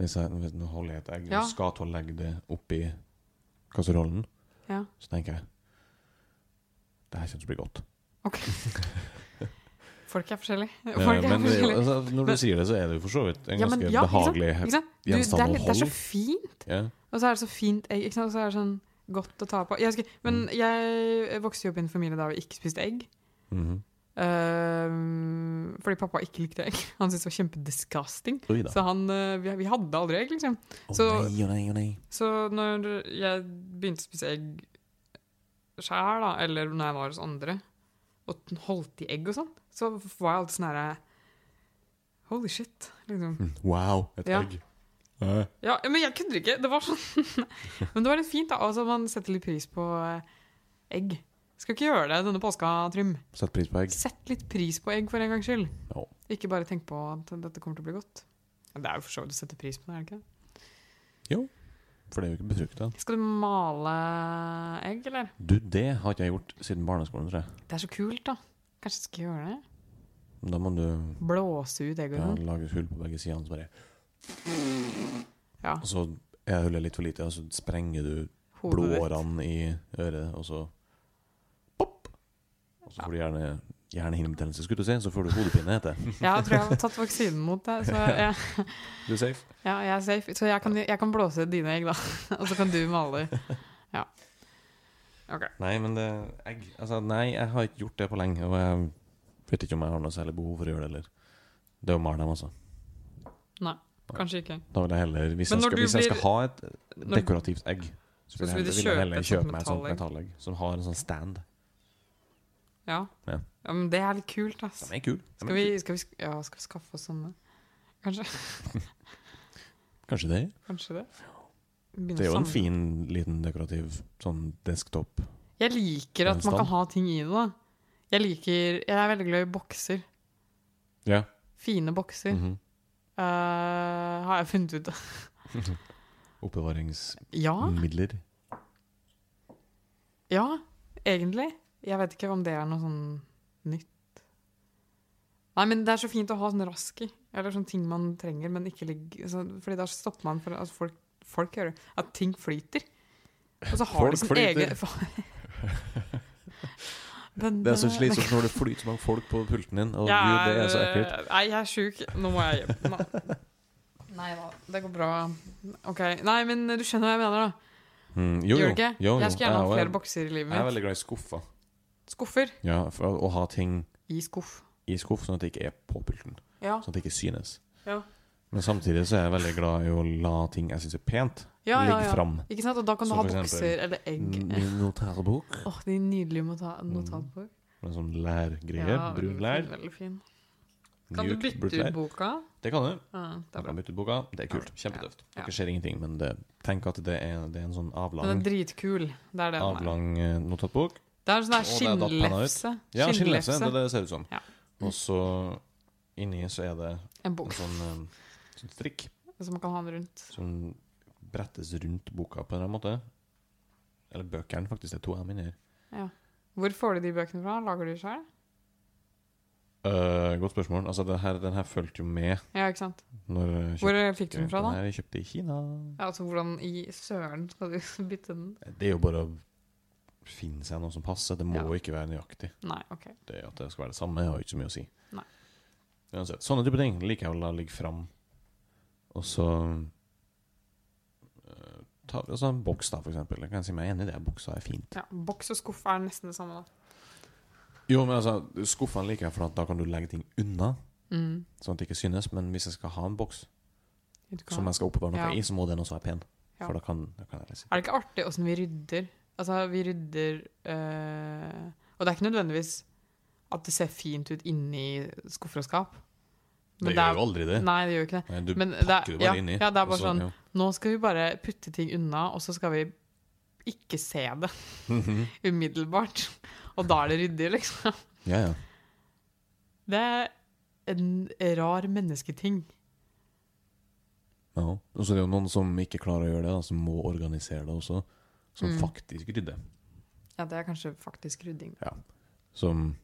[SPEAKER 2] Hvis jeg hvis nå holder jeg et egg
[SPEAKER 1] Ja.
[SPEAKER 2] og skal til å legge det oppi kasserollen,
[SPEAKER 1] Ja.
[SPEAKER 2] så tenker jeg Det her kommer til å bli godt.
[SPEAKER 1] Ok. Folk er forskjellige.
[SPEAKER 2] Eh,
[SPEAKER 1] Folk er
[SPEAKER 2] men det er jo-
[SPEAKER 1] forskjellige.
[SPEAKER 2] altså, når du
[SPEAKER 1] Men-
[SPEAKER 2] sier det, så er det jo for så vidt en
[SPEAKER 1] Ja, men
[SPEAKER 2] ganske
[SPEAKER 1] ja, ikke sant?
[SPEAKER 2] behagelig
[SPEAKER 1] Ikke sant? Du, det,
[SPEAKER 2] gjenstand
[SPEAKER 1] er
[SPEAKER 2] å
[SPEAKER 1] litt, det er så
[SPEAKER 2] holde.
[SPEAKER 1] fint.
[SPEAKER 2] Ja.
[SPEAKER 1] Og så er det så fint egg, ikke sant? og så er det sånn godt å ta på. Jeg husker, men
[SPEAKER 2] Mm.
[SPEAKER 1] jeg vokste jo opp i en familie der vi ikke spiste egg.
[SPEAKER 2] Mhm.
[SPEAKER 1] Ehm, fordi pappa ikke likte egg. Han syntes det var kjempedisgusting.
[SPEAKER 2] Oi da.
[SPEAKER 1] Så han, eh, vi, vi hadde aldri egg, liksom.
[SPEAKER 2] Å
[SPEAKER 1] så-
[SPEAKER 2] nei, å nei, å nei.
[SPEAKER 1] Så når jeg begynte å spise egg sjæl, da, eller når jeg var hos andre, og den holdt i egg og sånn, så var jeg alltid sånn herre Holy shit, liksom.
[SPEAKER 2] Mm, Wow, et
[SPEAKER 1] Ja.
[SPEAKER 2] egg. Eh,
[SPEAKER 1] Ja, men jeg kødder ikke. Det var sånn. men det var litt fint, da. Altså, man setter litt pris på eh, egg. Skal ikke gjøre det denne påska, Trym.
[SPEAKER 2] Sett pris på egg.
[SPEAKER 1] Sett litt pris på egg, for en gangs skyld.
[SPEAKER 2] Ja.
[SPEAKER 1] Ikke bare tenk på at dette kommer til å bli godt. Ja, Det er jo for så vidt å sette pris på det, er det ikke det?
[SPEAKER 2] For det er jo ikke befrukta.
[SPEAKER 1] Skal du male egg, eller?
[SPEAKER 2] Du, det har ikke jeg gjort siden barneskolen, tror jeg.
[SPEAKER 1] Det er så kult, da. Kanskje jeg skal gjøre det?
[SPEAKER 2] Da må du
[SPEAKER 1] Blåse ut egg og
[SPEAKER 2] ja,
[SPEAKER 1] sånn.
[SPEAKER 2] lage et hull på begge sidene, så bare
[SPEAKER 1] Ja.
[SPEAKER 2] Og så er hullet litt for lite, og så sprenger du
[SPEAKER 1] Hodet ditt.
[SPEAKER 2] blodårene i øret, og så Pop! Og så får du gjerne hjernehinnebetennelse, skulle du si. Så får du hodepine, heter det.
[SPEAKER 1] Ja, Jeg tror jeg har tatt vaksinen mot det, så jeg,
[SPEAKER 2] Du er safe.
[SPEAKER 1] ja, jeg er safe. Så jeg kan, jeg kan blåse ut dine egg, da. Og så kan du male. Ja. OK.
[SPEAKER 2] Nei, men det egg Altså, nei, jeg har ikke gjort det på lenge. Og jeg vet ikke om jeg har noe særlig behov for å gjøre det heller. Det er å male dem, altså.
[SPEAKER 1] Nei, kanskje ikke.
[SPEAKER 2] Da vil jeg heller
[SPEAKER 1] Men
[SPEAKER 2] Hvis,
[SPEAKER 1] når
[SPEAKER 2] jeg skal,
[SPEAKER 1] du
[SPEAKER 2] hvis jeg skal
[SPEAKER 1] blir-
[SPEAKER 2] ha et
[SPEAKER 1] når-
[SPEAKER 2] dekorativt egg, så
[SPEAKER 1] Så
[SPEAKER 2] vil jeg
[SPEAKER 1] vil du kjøpe
[SPEAKER 2] heller, vil jeg heller
[SPEAKER 1] et sånt
[SPEAKER 2] kjøpe meg et sånt
[SPEAKER 1] metallegg.
[SPEAKER 2] metallegg som har en sånn stand.
[SPEAKER 1] Ja.
[SPEAKER 2] Ja.
[SPEAKER 1] ja. Men det er litt kult, ass.
[SPEAKER 2] De er kul. De
[SPEAKER 1] Skal
[SPEAKER 2] er
[SPEAKER 1] vi,
[SPEAKER 2] kul.
[SPEAKER 1] skal vi, sk- ja, skal vi skaffe oss sånne? Kanskje,
[SPEAKER 2] Kanskje det.
[SPEAKER 1] kanskje det? Begynne
[SPEAKER 2] Det er jo
[SPEAKER 1] å
[SPEAKER 2] en
[SPEAKER 1] samle.
[SPEAKER 2] fin, liten dekorativ sånn desktop.
[SPEAKER 1] Jeg liker at man
[SPEAKER 2] gjenstand.
[SPEAKER 1] kan ha ting i det, da. Jeg liker Jeg er veldig glad i bokser.
[SPEAKER 2] Ja.
[SPEAKER 1] Fine bokser.
[SPEAKER 2] Mhm.
[SPEAKER 1] Eh, har jeg funnet ut.
[SPEAKER 2] Oppbevaringsmidler.
[SPEAKER 1] Ja, Ah. ja, egentlig. Jeg vet ikke om det er noe sånn nytt. Nei, men det er så fint å ha sånn rask i. Eller sånn ting man trenger, men ikke ligger så, Fordi da stopper man for at folk, folk gjør det. At ting flyter. Og så har
[SPEAKER 2] Folk
[SPEAKER 1] de sin
[SPEAKER 2] flyter.
[SPEAKER 1] egen Men,
[SPEAKER 2] Det er så
[SPEAKER 1] eh,
[SPEAKER 2] slitsomt når det flyter så mange folk på pulten din. Og
[SPEAKER 1] Jeg
[SPEAKER 2] Gud, det er så ekkelt.
[SPEAKER 1] eh, Nei, jeg er sjuk. Nå må jeg hjem. Nei. Nei da, det går bra. Ok, Nei, men du skjønner hva jeg mener, da.
[SPEAKER 2] Mm, jo,
[SPEAKER 1] Gjør
[SPEAKER 2] jo.
[SPEAKER 1] du ikke?
[SPEAKER 2] Jo, jo.
[SPEAKER 1] Jeg skulle gjerne
[SPEAKER 2] er
[SPEAKER 1] hatt
[SPEAKER 2] jo-
[SPEAKER 1] flere bokser i livet
[SPEAKER 2] Jeg er
[SPEAKER 1] mitt.
[SPEAKER 2] veldig glad i skuffer.
[SPEAKER 1] Skuffer
[SPEAKER 2] Ja, for å ha ting
[SPEAKER 1] i skuff.
[SPEAKER 2] i skuff, sånn at det ikke er på pulten.
[SPEAKER 1] Ja.
[SPEAKER 2] Sånn at det ikke synes.
[SPEAKER 1] Ja.
[SPEAKER 2] Men samtidig så er jeg veldig glad i å la ting jeg syns er pent,
[SPEAKER 1] Ja, ja,
[SPEAKER 2] ligge
[SPEAKER 1] ja.
[SPEAKER 2] fram.
[SPEAKER 1] Ikke sant? Og da kan du
[SPEAKER 2] Så
[SPEAKER 1] ha
[SPEAKER 2] for eksempel- Mm.
[SPEAKER 1] bokser eller egg. Åh,
[SPEAKER 2] Min notatbok.
[SPEAKER 1] de nydelige nota notatbok.
[SPEAKER 2] Med sånn lærgreier. Mm. Brun lær.
[SPEAKER 1] Veldig fin. Kan du
[SPEAKER 2] mjukt,
[SPEAKER 1] bytte
[SPEAKER 2] brunt
[SPEAKER 1] ut
[SPEAKER 2] lær.
[SPEAKER 1] boka?
[SPEAKER 2] Det kan du.
[SPEAKER 1] Ja, det
[SPEAKER 2] Du
[SPEAKER 1] er bra.
[SPEAKER 2] kan bytte ut boka. Det er kult.
[SPEAKER 1] Ja.
[SPEAKER 2] Kjempetøft.
[SPEAKER 1] Ja.
[SPEAKER 2] Dere ser ingenting, men det, tenk at det er, det er en sånn
[SPEAKER 1] Den
[SPEAKER 2] avlang,
[SPEAKER 1] er dritkul. Det er det den er.
[SPEAKER 2] avlang eh, notatbok.
[SPEAKER 1] Det er sånn der
[SPEAKER 2] Og det er da penna ut.
[SPEAKER 1] skinnlefse.
[SPEAKER 2] Ja, skinnlefse. Det er det det ser ut som.
[SPEAKER 1] Ja.
[SPEAKER 2] Og så inni så er det
[SPEAKER 1] En
[SPEAKER 2] en
[SPEAKER 1] bok
[SPEAKER 2] sånn, eh, sånn strikk
[SPEAKER 1] som man kan ha den rundt.
[SPEAKER 2] som brettes rundt boka på en eller annen måte. Eller bøkene, faktisk. Det er to M inni her.
[SPEAKER 1] Ja. Hvor får du de bøkene fra? Lager du de sjøl?
[SPEAKER 2] Eh, godt spørsmål. Altså, det her, den her fulgte jo med
[SPEAKER 1] Ja, ikke sant.
[SPEAKER 2] når jeg
[SPEAKER 1] Hvor eh, fikk du den fra,
[SPEAKER 2] den
[SPEAKER 1] da?
[SPEAKER 2] her jeg kjøpte i Kina.
[SPEAKER 1] Ja, altså, hvordan i søren skal du bytte den?
[SPEAKER 2] Det er jo bare å finne seg noe som passer. Det må
[SPEAKER 1] Ja.
[SPEAKER 2] ikke være nøyaktig.
[SPEAKER 1] Nei, OK.
[SPEAKER 2] Det At det skal være det samme, har jo ikke så mye å si.
[SPEAKER 1] Nei.
[SPEAKER 2] Uansett. Sånne type ting liker jeg å la ligge fram. Og så eh, ta, altså En boks, da, for eksempel. Jeg kan si meg enig i det. Boksa er fint.
[SPEAKER 1] Ja, boks og skuff er nesten det samme, da.
[SPEAKER 2] Jo, men altså, Skuffene liker jeg, for at da kan du legge ting unna,
[SPEAKER 1] Mm.
[SPEAKER 2] sånn at det ikke synes. Men hvis jeg skal ha en boks
[SPEAKER 1] Vet du hva?
[SPEAKER 2] som jeg skal oppbevare noe
[SPEAKER 1] Ja.
[SPEAKER 2] i, så må den også være pen.
[SPEAKER 1] Ja.
[SPEAKER 2] For da kan, da kan jeg liksom
[SPEAKER 1] Er det ikke artig åssen vi rydder? Altså, vi rydder eh, Og det er ikke nødvendigvis at det ser fint ut inni skuffer og skap.
[SPEAKER 2] Det gjør jo aldri det.
[SPEAKER 1] Nei, det gjør jo ikke det.
[SPEAKER 2] Nei, du
[SPEAKER 1] Men det er-
[SPEAKER 2] pakker det bare
[SPEAKER 1] ja,
[SPEAKER 2] inni.
[SPEAKER 1] ja, det er bare
[SPEAKER 2] og så-
[SPEAKER 1] sånn-
[SPEAKER 2] ja.
[SPEAKER 1] Nå skal vi bare putte ting unna, og så skal vi ikke se det sånn. umiddelbart. Og da er det ryddig, liksom.
[SPEAKER 2] Ja, ja.
[SPEAKER 1] Det er en rar mennesketing.
[SPEAKER 2] ja. Og så er det jo noen som ikke klarer å gjøre det, da, som må organisere det også. Som
[SPEAKER 1] Mm.
[SPEAKER 2] faktisk rydder.
[SPEAKER 1] Ja, det er kanskje faktisk rydding.
[SPEAKER 2] Som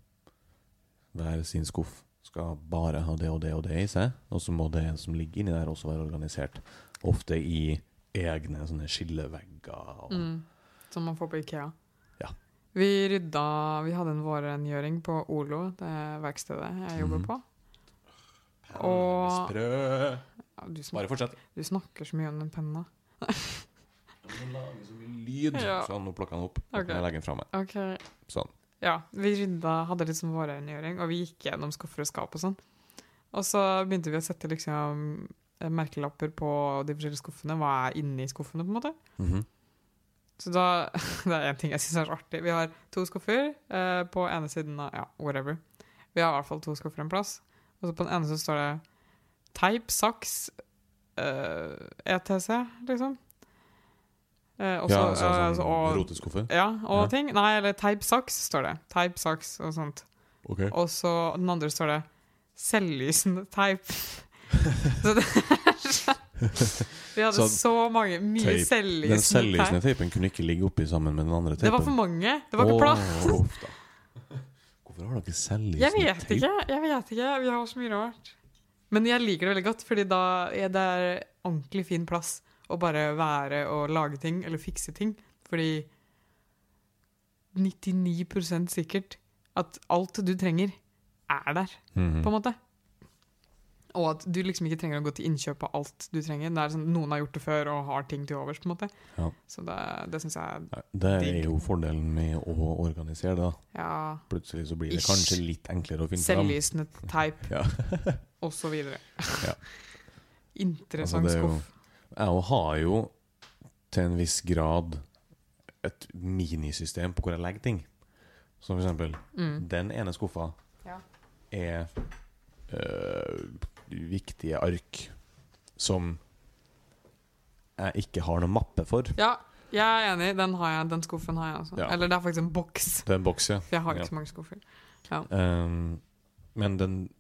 [SPEAKER 2] hver sin skuff skal bare ha det og det og det i seg. Og så må det som ligger inni der, også være organisert. Ofte i egne sånne skillevegger. Og,
[SPEAKER 1] Mm. Som man får på Ikea.
[SPEAKER 2] Ja.
[SPEAKER 1] Vi rydda Vi hadde en vårrengjøring på Olo, det verkstedet jeg jobber
[SPEAKER 2] Mhm.
[SPEAKER 1] på. Og
[SPEAKER 2] Sprø!
[SPEAKER 1] ja, du,
[SPEAKER 2] Bare
[SPEAKER 1] snakker,
[SPEAKER 2] fortsett.
[SPEAKER 1] du snakker så mye om den penna.
[SPEAKER 2] Den lager så mye lyd.
[SPEAKER 1] Ja.
[SPEAKER 2] Sånn, nå plukker jeg den opp. Nå
[SPEAKER 1] Ok.
[SPEAKER 2] kan jeg legge den fra meg.
[SPEAKER 1] Ok,
[SPEAKER 2] Sånn.
[SPEAKER 1] Ja, vi rydda, hadde litt sånn vårrengjøring, og vi gikk gjennom skuffer og skap og sånn. Og så begynte vi å sette liksom eh, merkelapper på de forskjellige skuffene. Hva er inni skuffene, på en måte.
[SPEAKER 2] Mhm.
[SPEAKER 1] Så da, det er en ting jeg syns er så artig. Vi har to skuffer eh, på ene siden av Ja, whatever. Vi har i hvert fall to skuffer en plass. Og så på den ene så står det teip, saks, eh, ETC, liksom. Eh, og så-
[SPEAKER 2] ja, altså,
[SPEAKER 1] eh,
[SPEAKER 2] sånn
[SPEAKER 1] altså, og-
[SPEAKER 2] roteskuffer.
[SPEAKER 1] ja, og
[SPEAKER 2] Ja.
[SPEAKER 1] ting. Nei, eller teip, saks, står det. Teip, saks og sånt.
[SPEAKER 2] Ok.
[SPEAKER 1] Og så den andre står det selvlysende teip. så det er sånn Vi hadde så,
[SPEAKER 2] Så
[SPEAKER 1] mange mye
[SPEAKER 2] teip- Den
[SPEAKER 1] selvlysende,
[SPEAKER 2] selvlysende teipen kunne ikke ligge oppi sammen med den andre
[SPEAKER 1] teip. Det var for
[SPEAKER 2] teipen.
[SPEAKER 1] mange. Det var ikke plass.
[SPEAKER 2] Åh, uff da. Hvorfor har dere
[SPEAKER 1] Jeg
[SPEAKER 2] selvlysende
[SPEAKER 1] vet ikke. jeg vet ikke, Vi har så mye rart. Men jeg liker det veldig godt, fordi da er det ordentlig fin plass å bare være og lage ting, eller fikse ting. Fordi 99 sikkert at alt du trenger, er der,
[SPEAKER 2] Mhm.
[SPEAKER 1] på en måte. Og at du liksom ikke trenger å gå til innkjøp av alt du trenger. Det er sånn, Noen har gjort det før og har ting til overs, på en måte.
[SPEAKER 2] Ja.
[SPEAKER 1] Så det, det syns jeg
[SPEAKER 2] Nei, Det er
[SPEAKER 1] Digg.
[SPEAKER 2] jo fordelen med å organisere det. da.
[SPEAKER 1] Ja.
[SPEAKER 2] Plutselig så blir det
[SPEAKER 1] Ish.
[SPEAKER 2] kanskje litt enklere å finne fram.
[SPEAKER 1] Selvlysende teip,
[SPEAKER 2] Ja.
[SPEAKER 1] og så videre.
[SPEAKER 2] Ja.
[SPEAKER 1] Interessant
[SPEAKER 2] Altså, det er jo-
[SPEAKER 1] skuff.
[SPEAKER 2] Jeg òg har jo til en viss grad et minisystem på hvor jeg legger ting. Som for eksempel
[SPEAKER 1] Mm.
[SPEAKER 2] den ene skuffa
[SPEAKER 1] Ja.
[SPEAKER 2] er øh, viktige ark som jeg ikke har noen mappe for.
[SPEAKER 1] Ja, jeg er enig. Den, har jeg, den skuffen har jeg også.
[SPEAKER 2] Ja.
[SPEAKER 1] Eller det er faktisk en boks.
[SPEAKER 2] Det er en boks, ja.
[SPEAKER 1] For jeg har ikke
[SPEAKER 2] Ja.
[SPEAKER 1] så mange skuffer.
[SPEAKER 2] Ehm, men den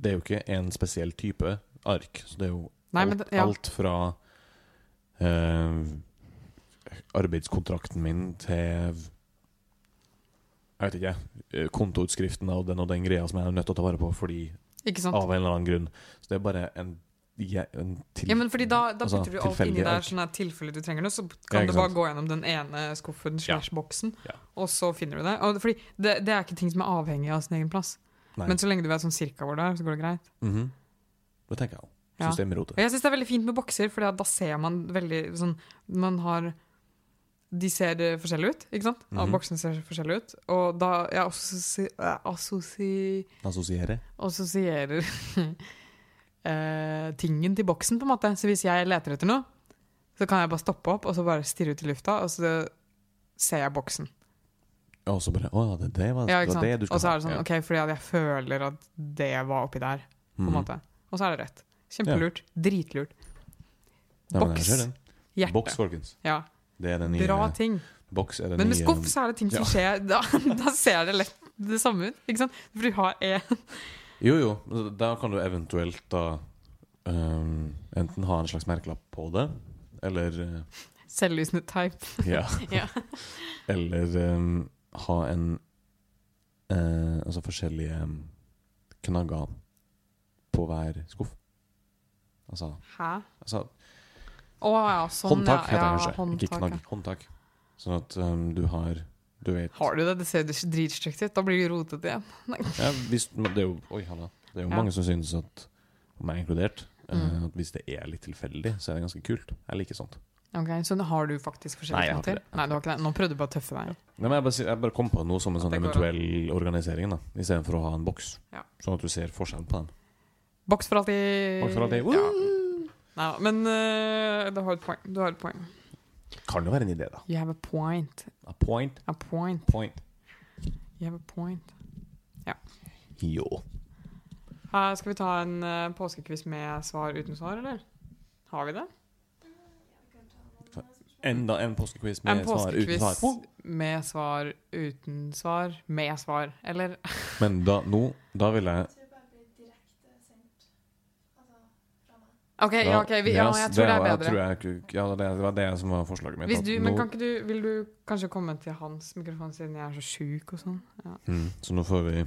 [SPEAKER 2] Det er jo ikke en spesiell type ark. Så det er jo
[SPEAKER 1] Nei,
[SPEAKER 2] alt,
[SPEAKER 1] men det- ja.
[SPEAKER 2] alt fra ehm, arbeidskontrakten min til jeg vet ikke, eh, kontoutskriften og den og den greia som jeg er nødt til å ta vare på fordi
[SPEAKER 1] Ikke sant?
[SPEAKER 2] av en eller annen grunn. Så det er bare en, je- en til,
[SPEAKER 1] Ja, men fordi da, da
[SPEAKER 2] altså,
[SPEAKER 1] putter du alt
[SPEAKER 2] tilfeldig
[SPEAKER 1] inni der,
[SPEAKER 2] ark.
[SPEAKER 1] sånn at tilfelle du trenger noe, så
[SPEAKER 2] Ja,
[SPEAKER 1] kan
[SPEAKER 2] ikke
[SPEAKER 1] du bare
[SPEAKER 2] sant.
[SPEAKER 1] gå gjennom den ene skuffen slash boksen,
[SPEAKER 2] Ja.
[SPEAKER 1] og så finner du det. Og, det- fordi det, det er ikke ting som er avhengig av sin egen plass.
[SPEAKER 2] Nei.
[SPEAKER 1] Men så lenge du vet sånn cirka hvor det er, så går det greit.
[SPEAKER 2] Mhm. Det tenker jeg òg.
[SPEAKER 1] Ja.
[SPEAKER 2] Systemrotet.
[SPEAKER 1] Og jeg syns det er veldig fint med bokser, for da ser man veldig sånn Man har de ser eh, forskjellige ut, ikke sant? Og
[SPEAKER 2] Mhm.
[SPEAKER 1] boksene ser forskjellige ut. Og da jeg assosi- eh, assosi-
[SPEAKER 2] Assosiere.
[SPEAKER 1] assosierer eh, tingen til boksen, på en måte. Så hvis jeg leter etter noe, så kan jeg bare stoppe opp og så bare stirre ut i lufta, og så ser jeg boksen.
[SPEAKER 2] Og så bare Å ja, det, det var
[SPEAKER 1] Ja,
[SPEAKER 2] Altså, det,
[SPEAKER 1] ikke
[SPEAKER 2] var det
[SPEAKER 1] sant?
[SPEAKER 2] du
[SPEAKER 1] Og
[SPEAKER 2] skulle
[SPEAKER 1] så er det
[SPEAKER 2] ha.
[SPEAKER 1] sånn,
[SPEAKER 2] Ja.
[SPEAKER 1] ok, fordi at jeg føler at det var oppi der, på en
[SPEAKER 2] Mhm.
[SPEAKER 1] måte. Og så er det rett. Kjempelurt. Dritlurt.
[SPEAKER 2] Nei, men jeg
[SPEAKER 1] Boks.
[SPEAKER 2] ser den.
[SPEAKER 1] Hjerte.
[SPEAKER 2] Boks, folkens.
[SPEAKER 1] Ja.
[SPEAKER 2] Det er den nye
[SPEAKER 1] Bra ting.
[SPEAKER 2] Boks er den
[SPEAKER 1] Men med
[SPEAKER 2] nye-
[SPEAKER 1] skuff så er det ting som skjer. Da, da ser det lett det samme ut, ikke sant? For du har E, en
[SPEAKER 2] Jo, jo. Da kan du eventuelt da ehm, enten ha en slags merkelapp på det, eller eh,
[SPEAKER 1] selvlysende type.
[SPEAKER 2] Ja.
[SPEAKER 1] Ja.
[SPEAKER 2] Eller ehm, ha en eh, Altså forskjellige ehm, knagger på hver skuff. Altså,
[SPEAKER 1] Hæ?
[SPEAKER 2] altså
[SPEAKER 1] Å ja, sånn.
[SPEAKER 2] håndtak
[SPEAKER 1] ja,
[SPEAKER 2] heter det
[SPEAKER 1] ja,
[SPEAKER 2] kanskje. Ikke
[SPEAKER 1] håndtak,
[SPEAKER 2] knagg.
[SPEAKER 1] ja.
[SPEAKER 2] Håndtak. Sånn at ehm, du har Du vet
[SPEAKER 1] Har du det? Det ser jo dritstygt ut. Da blir du rotet igjen.
[SPEAKER 2] ja, hvis, men det er jo, Oi, halla. Det er jo
[SPEAKER 1] Ja.
[SPEAKER 2] mange som synes at, meg inkludert, eh,
[SPEAKER 1] Mm.
[SPEAKER 2] at hvis det er litt tilfeldig, så er det ganske kult. Jeg liker sånt.
[SPEAKER 1] Ok, Så nå har du faktisk
[SPEAKER 2] Nei,
[SPEAKER 1] forskjellige
[SPEAKER 2] jeg har
[SPEAKER 1] knagger?
[SPEAKER 2] ikke det.
[SPEAKER 1] Nei, du har ikke det. Nå prøvde du bare å tøffe deg.
[SPEAKER 2] Nei, men jeg, bare, sier- jeg bare kom på noe som en
[SPEAKER 1] At
[SPEAKER 2] sånn
[SPEAKER 1] det går
[SPEAKER 2] eventuell organisering, da istedenfor å ha en boks.
[SPEAKER 1] Ja.
[SPEAKER 2] Sånn at du ser forskjellen på den.
[SPEAKER 1] Boks for alltid.
[SPEAKER 2] Boks for alltid.
[SPEAKER 1] Ja. Nei, men eh, du har et poeng. Du har et poeng.
[SPEAKER 2] Kan jo være en idé, da.
[SPEAKER 1] You have a point.
[SPEAKER 2] A point.
[SPEAKER 1] A point.
[SPEAKER 2] Point.
[SPEAKER 1] You have a point.
[SPEAKER 2] Jo.
[SPEAKER 1] Eh, skal vi ta en uh, påskekviss med svar uten svar, eller? Har vi det?
[SPEAKER 2] Enda en påskequiz med
[SPEAKER 1] En
[SPEAKER 2] svar uten
[SPEAKER 1] påskekviss
[SPEAKER 2] svar.
[SPEAKER 1] med svar uten svar med svar, eller?
[SPEAKER 2] Men da, nå, da vil jeg
[SPEAKER 1] OK, ja,
[SPEAKER 2] da-
[SPEAKER 1] ok, vi, ja,
[SPEAKER 2] yes,
[SPEAKER 1] jeg tror det er
[SPEAKER 2] var- jeg
[SPEAKER 1] bedre.
[SPEAKER 2] tror jeg ikke- ja, det, det var det som var forslaget mitt.
[SPEAKER 1] Hvis
[SPEAKER 2] at
[SPEAKER 1] du, men
[SPEAKER 2] nå-
[SPEAKER 1] kan ikke du, vil du kanskje komme til hans mikrofon siden jeg er så sjuk og sånn? Ja.
[SPEAKER 2] mm, så nå får vi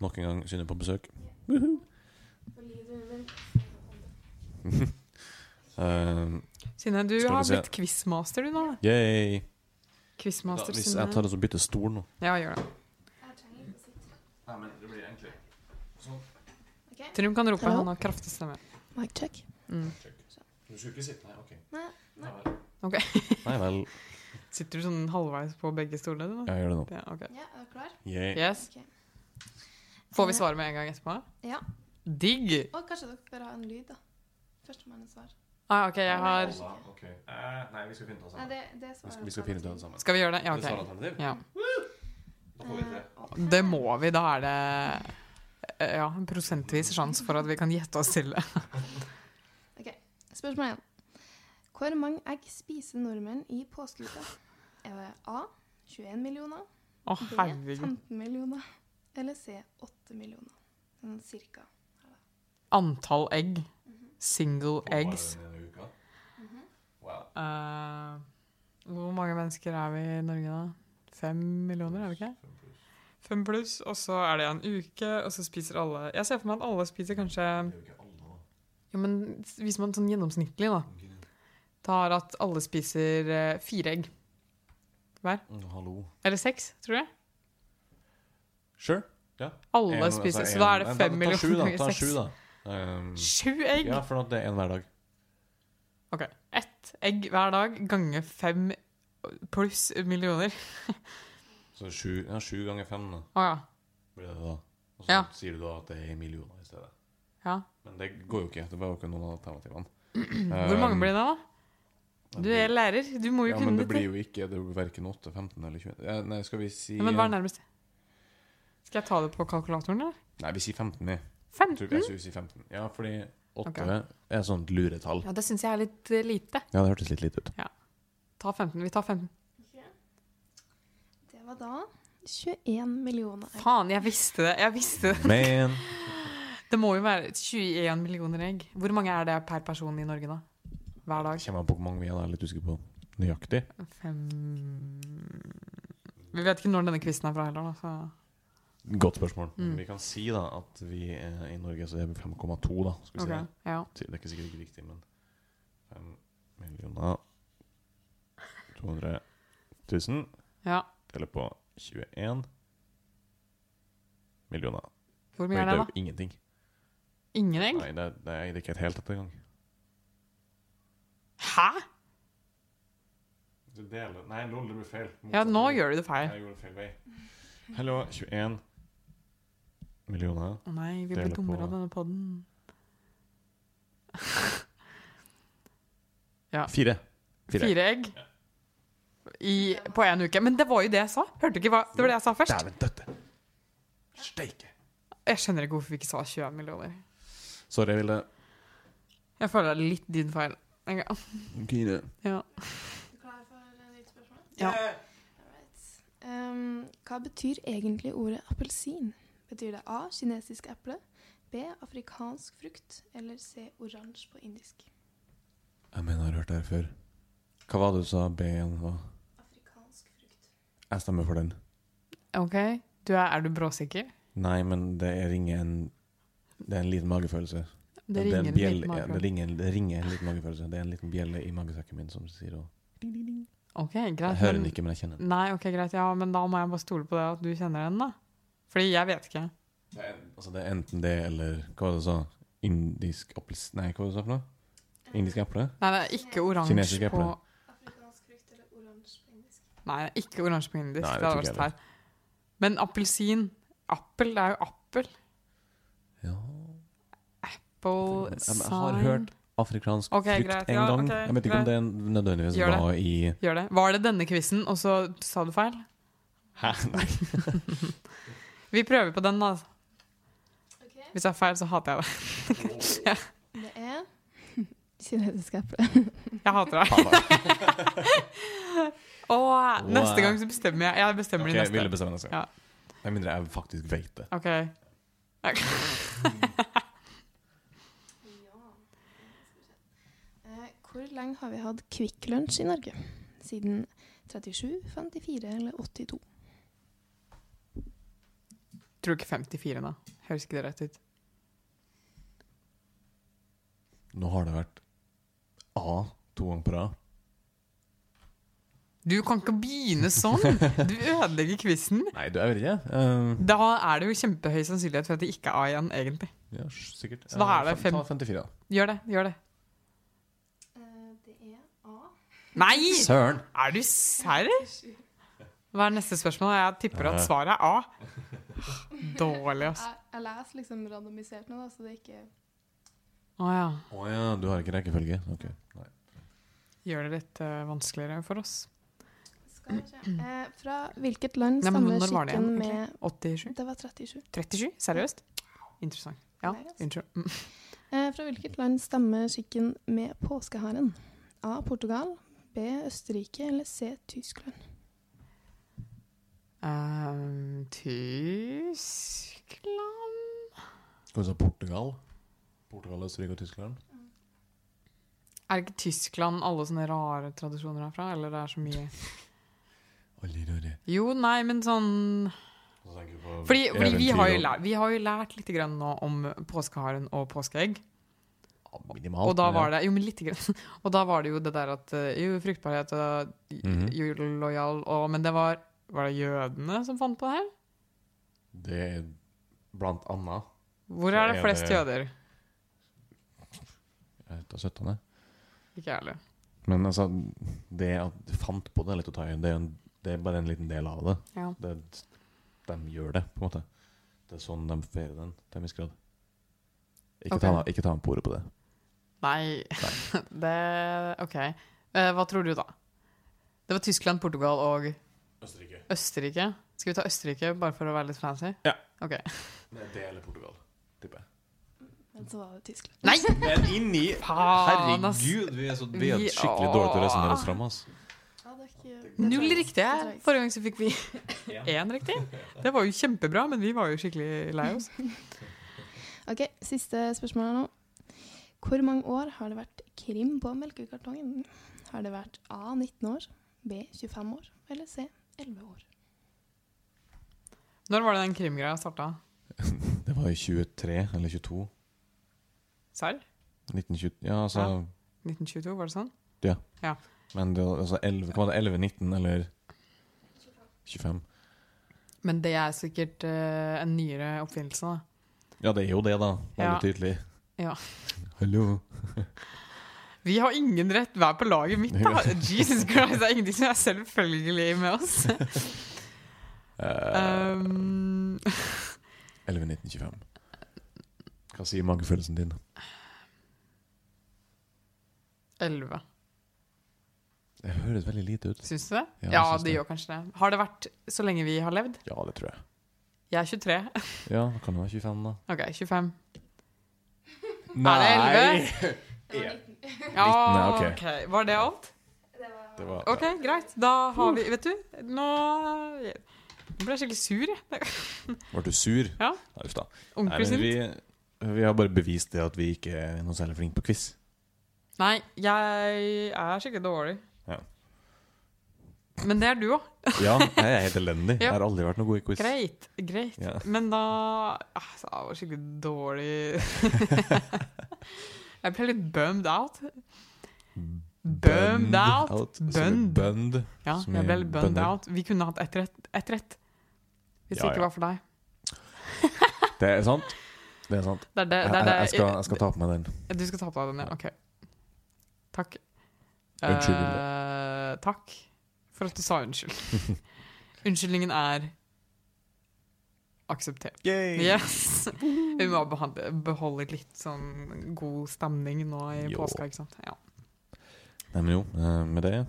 [SPEAKER 2] nok en gang Synne på besøk. Uh,
[SPEAKER 1] Synne, du
[SPEAKER 2] Skal vi
[SPEAKER 1] har
[SPEAKER 2] se.
[SPEAKER 1] blitt quizmaster du nå. da.
[SPEAKER 2] yay. Da,
[SPEAKER 1] Quizmaster
[SPEAKER 2] hvis
[SPEAKER 1] Synne.
[SPEAKER 2] jeg tar og så bytter stol nå
[SPEAKER 1] Ja, gjør det.
[SPEAKER 2] Nei, men det blir enklere.
[SPEAKER 1] Trym kan rope,
[SPEAKER 5] Hallo?
[SPEAKER 1] han har kraftig stemme.
[SPEAKER 5] Mic check.
[SPEAKER 1] Mm.
[SPEAKER 2] Du skulle ikke sitte Nei, OK.
[SPEAKER 5] Nei,
[SPEAKER 2] Nei vel.
[SPEAKER 1] Ok.
[SPEAKER 2] Nei vel.
[SPEAKER 1] Sitter du sånn halvveis på begge stolene? du, da?
[SPEAKER 2] Jeg gjør det nå.
[SPEAKER 1] Ja, ok.
[SPEAKER 5] Ja, er du klar?
[SPEAKER 2] Yay.
[SPEAKER 1] Yes.
[SPEAKER 5] Ok.
[SPEAKER 1] Får vi svaret med en gang etterpå?
[SPEAKER 5] Ja.
[SPEAKER 1] Digg!
[SPEAKER 5] Og kanskje dere bør ha en lyd, da. Førstemann er svar.
[SPEAKER 1] Ah, ok, jeg har
[SPEAKER 2] Ok. Eh, Nei, vi skal finne ut av
[SPEAKER 5] Nei, det, det
[SPEAKER 2] Vi
[SPEAKER 5] svarer
[SPEAKER 2] skal, vi skal finne ut av det sammen.
[SPEAKER 1] Skal vi gjøre det? Ja,
[SPEAKER 2] Det er
[SPEAKER 1] ok. Eh,
[SPEAKER 2] svaralternativ.
[SPEAKER 1] Ja.
[SPEAKER 5] Eh,
[SPEAKER 2] Da får vi til.
[SPEAKER 1] Det må vi. Da er det eh, ja, en prosentvis sjanse for at vi kan gjette oss til det.
[SPEAKER 5] Spørsmål 1. Hvor mange egg spiser nordmenn i påskeuka? Er det A 21 millioner,
[SPEAKER 1] Å,
[SPEAKER 5] B
[SPEAKER 1] herregud.
[SPEAKER 5] 15 millioner eller C 8 millioner? Sånn cirka.
[SPEAKER 1] Antall egg. Single eggs.
[SPEAKER 2] Bare denne uka. Wow.
[SPEAKER 1] Eh, hvor mange mennesker er vi i Norge, da? Fem millioner, er vi ikke? Fem pluss, og så er det en uke, og så spiser alle Jeg ser for meg at alle spiser kanskje Ja, men Hvis man sånn gjennomsnittlig da tar at alle spiser eh, fire egg,
[SPEAKER 2] Mm, Hallo.
[SPEAKER 1] eller seks, tror jeg
[SPEAKER 2] Sure.
[SPEAKER 1] Alle spiser, så da er det fem millioner
[SPEAKER 2] ganger altså Ta
[SPEAKER 1] ganger
[SPEAKER 2] sju,
[SPEAKER 1] seks.
[SPEAKER 2] da. Um,
[SPEAKER 1] Sju egg!
[SPEAKER 2] ja, for at det er en hver dag.
[SPEAKER 1] Ok. Ett egg hver dag ganger fem pluss millioner.
[SPEAKER 2] Så sju, ja, sju ganger fem da,
[SPEAKER 1] Å ja.
[SPEAKER 2] blir det da. Og så
[SPEAKER 1] Ja.
[SPEAKER 2] sier du da at det er i millioner i stedet.
[SPEAKER 1] ja.
[SPEAKER 2] Men det går jo ikke. Det var jo ikke noen av alternativene.
[SPEAKER 1] Hvor mange blir det, da? Du er lærer, du må jo
[SPEAKER 2] Um, ja,
[SPEAKER 1] kunne
[SPEAKER 2] men det
[SPEAKER 1] dette.
[SPEAKER 2] blir jo ikke Det blir verken 8, 15 eller 20 ja, Nei, skal vi si
[SPEAKER 1] Ja, men hva er nærmest? Skal jeg ta det på kalkulatoren, eller?
[SPEAKER 2] Nei, vi sier 15, vi. Jeg
[SPEAKER 1] 15?
[SPEAKER 2] tror jeg skulle si 15. Ja, fordi 8
[SPEAKER 1] Ok.
[SPEAKER 2] er sånt luretall.
[SPEAKER 1] Ja, det syns jeg er litt eh, lite.
[SPEAKER 2] Ja, det hørtes litt lite ut.
[SPEAKER 1] Ta 15. Vi tar 15.
[SPEAKER 5] Det var da 21 millioner egg.
[SPEAKER 1] Faen, jeg visste det! Jeg visste det.
[SPEAKER 2] Men
[SPEAKER 1] Det må jo være 21 millioner egg. Hvor mange er det per person i Norge, da? Hver dag?
[SPEAKER 2] kommer an på hvor mange vi er, da. Jeg er litt usikker på nøyaktig.
[SPEAKER 1] Fem Vi vet ikke når denne quizen er fra heller, da. Så.
[SPEAKER 2] Godt spørsmål.
[SPEAKER 1] Mm.
[SPEAKER 2] Vi kan si da at vi er i Norge så er vi 5,2, da.
[SPEAKER 1] Ok,
[SPEAKER 2] Skal vi si det.
[SPEAKER 1] ja.
[SPEAKER 2] Det er ikke sikkert ikke riktig, men 5 millioner 200 000
[SPEAKER 1] ja.
[SPEAKER 2] deler på 21 millioner.
[SPEAKER 1] Hvor
[SPEAKER 2] Oi,
[SPEAKER 1] mye er
[SPEAKER 2] det
[SPEAKER 1] det, da?
[SPEAKER 2] er jo ingenting.
[SPEAKER 1] Ingen egg?
[SPEAKER 2] Nei, det er, det er ikke et helt ett engang.
[SPEAKER 1] Hæ?
[SPEAKER 2] Hvis du deler Nei, lol, det blir feil.
[SPEAKER 1] Ja, nå gjør du det feil.
[SPEAKER 2] Jeg gjorde feil vei. Hallo, 21 millioner.
[SPEAKER 1] Å nei, vi
[SPEAKER 2] Dele
[SPEAKER 1] blir
[SPEAKER 2] på-
[SPEAKER 1] dummere av denne podden.
[SPEAKER 2] Fire. Fire.
[SPEAKER 1] Fire egg i, på én uke. Men det var jo det jeg sa. Hørte du ikke hva Det var det jeg sa først.
[SPEAKER 2] Dæven døtte! Steike!
[SPEAKER 1] Jeg skjønner ikke hvorfor vi ikke sa 20 millioner.
[SPEAKER 2] Sorry, Vilde.
[SPEAKER 1] Jeg føler det er litt din feil. Jeg-
[SPEAKER 2] Fire.
[SPEAKER 1] Ja.
[SPEAKER 5] Du klar for et nytt spørsmål?
[SPEAKER 1] Ja.
[SPEAKER 5] Alright. Um, hva betyr egentlig ordet appelsin? Betyr det A. Kinesisk eple. B. Afrikansk frukt. Eller C. Oransje på indisk.
[SPEAKER 2] Jeg mener jeg har hørt det her før. Hva var det du sa B-en var?
[SPEAKER 5] Afrikansk frukt.
[SPEAKER 2] Jeg stemmer for den.
[SPEAKER 1] OK. Du er, er du bråsikker?
[SPEAKER 2] Nei, men det er- ringer en Det er en liten magefølelse.
[SPEAKER 1] Det
[SPEAKER 2] er en
[SPEAKER 1] ringer en
[SPEAKER 2] bjelle-
[SPEAKER 1] liten
[SPEAKER 2] ja, det,
[SPEAKER 1] magefølelse.
[SPEAKER 2] ringer, en- det ringer en liten magefølelse. Det er en liten bjelle i magesekken min som sier og
[SPEAKER 1] OK, greit.
[SPEAKER 2] Jeg hører
[SPEAKER 1] men-
[SPEAKER 2] den ikke, men jeg kjenner den.
[SPEAKER 1] Nei, ok, greit. Ja, men da må jeg bare stole på det at du kjenner den, da. Fordi jeg vet ikke.
[SPEAKER 2] Det er, altså, det er enten det eller Hva var det du sa? Indisk appels... Nei, hva var det du sa for noe? Indisk eple?
[SPEAKER 1] Nei, det er ikke
[SPEAKER 2] Kinesisk
[SPEAKER 1] oransje
[SPEAKER 2] eple.
[SPEAKER 1] på
[SPEAKER 5] Afrikansk frukt eller oransje på indisk.
[SPEAKER 1] Nei, ikke oransje på indisk.
[SPEAKER 2] Nei, det
[SPEAKER 1] det hadde
[SPEAKER 2] tror
[SPEAKER 1] vært
[SPEAKER 2] ikke
[SPEAKER 1] så teit. Men appelsin Appel, det er jo appel.
[SPEAKER 2] Ja
[SPEAKER 1] Bowl,
[SPEAKER 2] Jeg- jeg har
[SPEAKER 1] sign
[SPEAKER 2] hørt Afrikansk
[SPEAKER 1] Ok,
[SPEAKER 2] frukt
[SPEAKER 1] greit,
[SPEAKER 2] en
[SPEAKER 1] ja,
[SPEAKER 2] gang.
[SPEAKER 1] ok,
[SPEAKER 2] jeg vet ikke om
[SPEAKER 1] greit.
[SPEAKER 2] det er nødvendigvis
[SPEAKER 1] Gjør det.
[SPEAKER 2] var i
[SPEAKER 1] Gjør det. Var det denne quizen, og så sa du feil?
[SPEAKER 2] Hæ? Nei.
[SPEAKER 1] Vi prøver på den, da.
[SPEAKER 5] Ok.
[SPEAKER 1] Hvis det er feil, så hater jeg det.
[SPEAKER 5] Det er E, kinesisk eple.
[SPEAKER 1] Jeg hater deg. Åh, neste gang så bestemmer jeg. Jeg bestemmer
[SPEAKER 2] Ok,
[SPEAKER 1] de
[SPEAKER 2] Ville
[SPEAKER 1] neste.
[SPEAKER 2] bestemme neste gang. Med mindre jeg faktisk vet det.
[SPEAKER 1] Ok.
[SPEAKER 5] Ja. Eh, Hvor lenge har vi hatt Kvikk Lunsj i Norge? Siden 37, 54 eller 82?
[SPEAKER 1] Tror du ikke 54, da? Høres ikke det rett ut?
[SPEAKER 2] Nå har det vært A to ganger på rad.
[SPEAKER 1] Du kan ikke begynne sånn! Du ødelegger quizen.
[SPEAKER 2] Nei, du, jeg vet ikke. Um,
[SPEAKER 1] Da er det jo kjempehøy sannsynlighet for at det ikke er A igjen, egentlig.
[SPEAKER 2] ja, sj- sikkert.
[SPEAKER 1] Så da er det
[SPEAKER 2] Eh,
[SPEAKER 1] fem-
[SPEAKER 2] Ta 54, da.
[SPEAKER 1] Gjør det. gjør det.
[SPEAKER 5] Eh, Det er A.
[SPEAKER 1] Nei!
[SPEAKER 2] Søren!
[SPEAKER 1] Er du serr? Hva er neste spørsmål? Jeg tipper at
[SPEAKER 2] Eh.
[SPEAKER 1] svaret er A. Dårlig, altså.
[SPEAKER 5] Jeg, jeg leser liksom randomisert nå, da, så det er ikke
[SPEAKER 1] Å ja.
[SPEAKER 2] Å ja, du har ikke rekkefølge? Ok. Nei.
[SPEAKER 1] Gjør det litt eh, vanskeligere for oss.
[SPEAKER 5] Skal vi se. Eh, fra hvilket land
[SPEAKER 1] Nei, men
[SPEAKER 5] stammer
[SPEAKER 1] når var det igjen,
[SPEAKER 5] skikken med
[SPEAKER 1] 87?
[SPEAKER 5] Det var 37.
[SPEAKER 1] 37? Seriøst? Interessant. Ja,
[SPEAKER 5] Nei, altså.
[SPEAKER 1] unnskyld. Mm.
[SPEAKER 5] Eh, fra hvilket land stammer skikken med påskeharen? A. Portugal. B. Østerrike. Eller C. Tyskland.
[SPEAKER 1] Ehm, Tyskland
[SPEAKER 2] Skal vi si Portugal? Portugal, Østerrike og Tyskland?
[SPEAKER 1] Er ikke Tyskland alle sånne rare tradisjoner herfra? Eller det er så mye
[SPEAKER 2] Olli, røri.
[SPEAKER 1] Jo, nei, men sånn
[SPEAKER 2] Og så tenker du på
[SPEAKER 1] Fordi, fordi vi,
[SPEAKER 2] eventyr
[SPEAKER 1] har jo
[SPEAKER 2] og-
[SPEAKER 1] lært, vi har jo lært litt grann nå om påskeharen og påskeegg.
[SPEAKER 2] Ja, Minimalt.
[SPEAKER 1] Og da var det jo, men litt grann. Og da var det jo det der at eh, jo, fruktbarhet og
[SPEAKER 2] Mhm.
[SPEAKER 1] julelojal og Men det var Var det jødene som fant på det her?
[SPEAKER 2] Det er blant annet
[SPEAKER 1] Hvor er
[SPEAKER 2] Så er
[SPEAKER 1] det flest
[SPEAKER 2] det-
[SPEAKER 1] jøder?
[SPEAKER 2] Jeg vet da, 17.
[SPEAKER 1] Ikke jeg heller.
[SPEAKER 2] Men altså, det at du fant på det er litt å ta i. Det, er en- det er bare en liten del av det.
[SPEAKER 1] Ja.
[SPEAKER 2] det de gjør det, på en måte. Det er sånn de feirer den, til en viss grad. Ikke,
[SPEAKER 1] Ok.
[SPEAKER 2] ta, meg- ikke ta meg på ordet på det.
[SPEAKER 1] Nei Det OK. Eh, hva tror du, da? Det var Tyskland, Portugal og
[SPEAKER 2] Østerrike.
[SPEAKER 1] Østerrike. Skal vi ta Østerrike bare for å være litt fancy?
[SPEAKER 2] Ja.
[SPEAKER 1] Ok.
[SPEAKER 2] Det eller Portugal, tipper jeg.
[SPEAKER 5] Men så var det Tyskland.
[SPEAKER 1] Nei!
[SPEAKER 2] Men inni
[SPEAKER 1] Faen, ass.
[SPEAKER 2] Herregud, vi er, så, vi er
[SPEAKER 1] Vi-
[SPEAKER 2] skikkelig
[SPEAKER 1] åh.
[SPEAKER 2] dårlige til å resonnere oss fram. ass.
[SPEAKER 5] Ja, det er ikke,
[SPEAKER 1] Null riktige.
[SPEAKER 5] jeg ikke.
[SPEAKER 1] Forrige gang så fikk vi én riktig. Det var jo kjempebra, men vi var jo skikkelig lei oss.
[SPEAKER 5] Ok, siste spørsmål her nå. Hvor mange år har det vært krim på melkekartongen? Har det vært A 19 år, B 25 år eller C 11 år?
[SPEAKER 1] Når var det den krimgreia starta?
[SPEAKER 2] Det var i 23 eller 22.
[SPEAKER 1] Serr?
[SPEAKER 2] 1920, ja, altså,
[SPEAKER 1] 1922, var det sånn?
[SPEAKER 2] Men det var altså 11, hva var det, 11, 19 eller 25?
[SPEAKER 1] Men det er sikkert eh, en nyere oppfinnelse, da.
[SPEAKER 2] Ja, det er jo det, da. Veldig
[SPEAKER 1] Ja.
[SPEAKER 2] tydelig.
[SPEAKER 1] Ja.
[SPEAKER 2] Hallo.
[SPEAKER 1] Vi har ingen rett hver på laget mitt, da. Jesus Christ, det er ingenting som er selvfølgelig med oss.
[SPEAKER 2] Eh,
[SPEAKER 1] Um,
[SPEAKER 2] 11.1925. Hva sier magefølelsen din?
[SPEAKER 1] 11.
[SPEAKER 2] Det høres veldig lite ut.
[SPEAKER 1] Syns du det?
[SPEAKER 2] Ja, jeg
[SPEAKER 1] Ja,
[SPEAKER 2] syns
[SPEAKER 1] det
[SPEAKER 2] det.
[SPEAKER 1] gjør kanskje det. Har det vært så lenge vi har levd?
[SPEAKER 2] Ja, det tror jeg.
[SPEAKER 1] Jeg er 23.
[SPEAKER 2] Ja, det kan jo være 25, da.
[SPEAKER 1] OK, 25. Er det 11? Ja,
[SPEAKER 2] Nitten, ja,
[SPEAKER 1] ok. Var det alt?
[SPEAKER 2] Det var,
[SPEAKER 1] OK, greit. Da har vi Vet du, nå jeg ble jeg skikkelig sur, jeg.
[SPEAKER 2] Ble du sur?
[SPEAKER 1] Ja.
[SPEAKER 2] Uff da. Nei,
[SPEAKER 1] Ordentlig
[SPEAKER 2] men
[SPEAKER 1] sint.
[SPEAKER 2] vi, vi har bare bevist det at vi ikke er noe særlig flinke på quiz.
[SPEAKER 1] Nei, jeg er skikkelig dårlig.
[SPEAKER 2] Ja.
[SPEAKER 1] Men det er du òg.
[SPEAKER 2] Ja, jeg er helt elendig. Jeg
[SPEAKER 1] Ja.
[SPEAKER 2] har aldri vært noe god i quiz.
[SPEAKER 1] Greit. greit.
[SPEAKER 2] Ja.
[SPEAKER 1] Men da altså, Jeg var skikkelig dårlig Jeg ble litt bummed out. Bummed out.
[SPEAKER 2] som i
[SPEAKER 1] Bund.
[SPEAKER 2] Bund.
[SPEAKER 1] Ja,
[SPEAKER 2] Som
[SPEAKER 1] jeg
[SPEAKER 2] i
[SPEAKER 1] ble litt bummed
[SPEAKER 2] bønder.
[SPEAKER 1] out. Vi kunne hatt ett rett. Ett rett. Hvis det
[SPEAKER 2] Ja, ja.
[SPEAKER 1] ikke var for deg.
[SPEAKER 2] Det er sant. Det er sant.
[SPEAKER 1] Det er det,
[SPEAKER 2] Jeg,
[SPEAKER 1] det,
[SPEAKER 2] jeg,
[SPEAKER 1] er det.
[SPEAKER 2] jeg, skal, jeg skal ta på meg den.
[SPEAKER 1] Du skal ta på deg den, ja. Ok. Takk.
[SPEAKER 2] Unnskyld,
[SPEAKER 1] Eh, takk for at du sa unnskyld. Unnskyldningen er akseptert.
[SPEAKER 2] Mm.
[SPEAKER 1] Yes! Vi må behandle, beholde litt sånn god stemning nå i
[SPEAKER 2] Jo.
[SPEAKER 1] påska, ikke sant? Ja.
[SPEAKER 2] Nei, men jo, eh, med det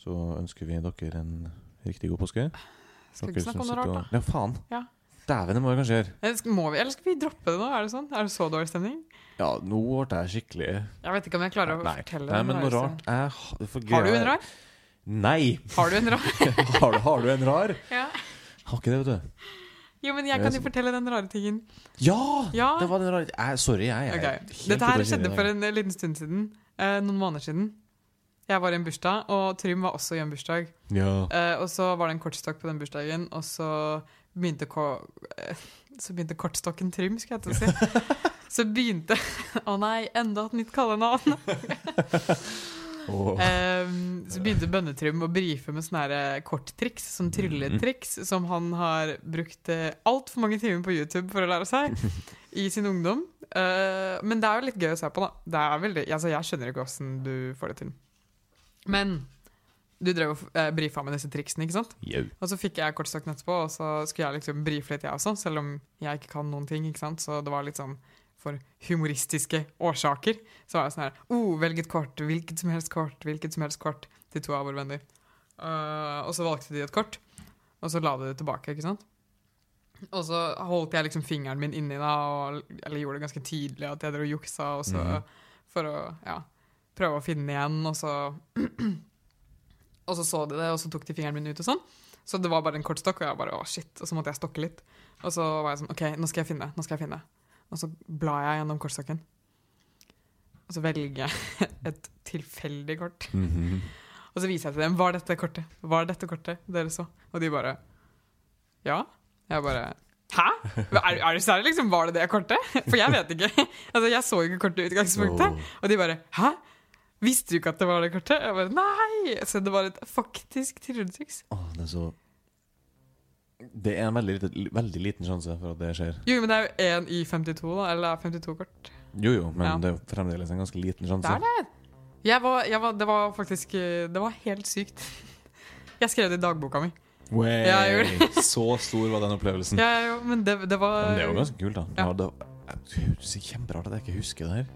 [SPEAKER 2] så ønsker vi dere en riktig god påske.
[SPEAKER 1] Skal vi
[SPEAKER 2] Dere
[SPEAKER 1] ikke snakke om noe
[SPEAKER 2] som sitter
[SPEAKER 1] rart, da?
[SPEAKER 2] og- Ja, faen.
[SPEAKER 1] Ja.
[SPEAKER 2] Dæven, det må vi kanskje gjøre.
[SPEAKER 1] Eller skal, må vi, eller skal vi droppe det nå? Er det sånn? Er det så dårlig stemning?
[SPEAKER 2] Ja, nå ble jeg skikkelig
[SPEAKER 1] Jeg vet ikke om jeg klarer å
[SPEAKER 2] Nei,
[SPEAKER 1] fortelle
[SPEAKER 2] nei,
[SPEAKER 1] den
[SPEAKER 2] men noe
[SPEAKER 1] rareste-
[SPEAKER 2] rart jeg, ha- for
[SPEAKER 1] Har du
[SPEAKER 2] greia
[SPEAKER 1] en
[SPEAKER 2] er-
[SPEAKER 1] rar?
[SPEAKER 2] Nei!
[SPEAKER 1] Har du en rar?
[SPEAKER 2] Har du, har du en rar?
[SPEAKER 1] Ja.
[SPEAKER 2] Har ikke det, vet du.
[SPEAKER 1] Jo, men jeg kan jo fortelle den rare tingen.
[SPEAKER 2] Ja!
[SPEAKER 1] Ja.
[SPEAKER 2] Det var den rare jeg, Sorry, jeg er
[SPEAKER 1] Ok.
[SPEAKER 2] helt
[SPEAKER 1] Dette her
[SPEAKER 2] ute å kjøre i
[SPEAKER 1] skjedde
[SPEAKER 2] dag.
[SPEAKER 1] for en liten stund siden. Eh, noen måneder siden. Jeg var i en bursdag, og Trym var også i en bursdag.
[SPEAKER 2] Ja.
[SPEAKER 1] Eh, og så var det en kortstokk på den bursdagen, og så begynte, ko eh, så begynte kortstokken Trym, skal jeg til å si. Så begynte Å nei, enda et nytt kallenavn!
[SPEAKER 2] Åh.
[SPEAKER 1] Eh, så begynte Bønnetrym å brife med sånne her, eh, korttriks,
[SPEAKER 2] Mhm.
[SPEAKER 1] som trylletriks, som han har brukt eh, altfor mange timer på YouTube for å lære seg i sin ungdom. Eh, men det er jo litt gøy å se på, da. Det er veldig, altså, jeg skjønner ikke åssen du får det til. Men du drev og eh, brifa med disse triksene, ikke sant?
[SPEAKER 2] Jau.
[SPEAKER 1] Og så fikk jeg kortstokken etterpå, og så skulle jeg liksom brife litt, jeg også, selv om jeg ikke kan noen ting, ikke sant? Så det var litt sånn for humoristiske årsaker. Så var jeg sånn her oh, Velg et kort. Hvilket som helst kort. Hvilket som helst kort. Til to av våre venner. Eh, og så valgte de et kort, og så la de det tilbake, ikke sant? Og så holdt jeg liksom fingeren min inni da, og, eller gjorde det ganske tydelig at jeg drev og juksa, og så
[SPEAKER 2] Mhm.
[SPEAKER 1] for å ja, prøve å finne igjen, og så Og så så de det, og så tok de fingeren min ut og sånn. Så det var bare en kortstokk, og jeg bare, å shit, og så måtte jeg stokke litt. Og så var jeg sånn, ok, nå skal jeg finne, nå skal jeg finne. Og så bla jeg gjennom kortstokken. Og så velger jeg et tilfeldig kort.
[SPEAKER 2] Mhm.
[SPEAKER 1] Og så viser jeg til dem, var dette kortet? Var dette kortet dere så? Og de bare, ja. Jeg bare, hæ? Er, er du særlig liksom, var det det kortet? For jeg vet ikke. Altså, jeg så jo ikke kortet i utgangspunktet. Og de bare 'hæ? Visste du ikke at det var det kortet?' Jeg bare 'nei!' Så det var et faktisk trylletriks.
[SPEAKER 2] Åh, det er så Det er en veldig, liten- veldig liten sjanse for at det skjer.
[SPEAKER 1] Jo, men det er jo én i 52, da. Eller 52-kort.
[SPEAKER 2] Jo jo, men
[SPEAKER 1] Ja.
[SPEAKER 2] det er jo fremdeles en ganske liten sjanse.
[SPEAKER 1] Det er det! Jeg var, jeg var, det var faktisk eh, Det var helt sykt. Jeg skrev det i dagboka mi.
[SPEAKER 2] Way.
[SPEAKER 1] Ja, jeg
[SPEAKER 2] så stor var den opplevelsen.
[SPEAKER 1] Ja, jo, men det, det var
[SPEAKER 2] Mm. Men det er jo ganske kult, da.
[SPEAKER 1] Ja.
[SPEAKER 2] Ja. det, jeg- det er kjemperart at jeg ikke husker det her.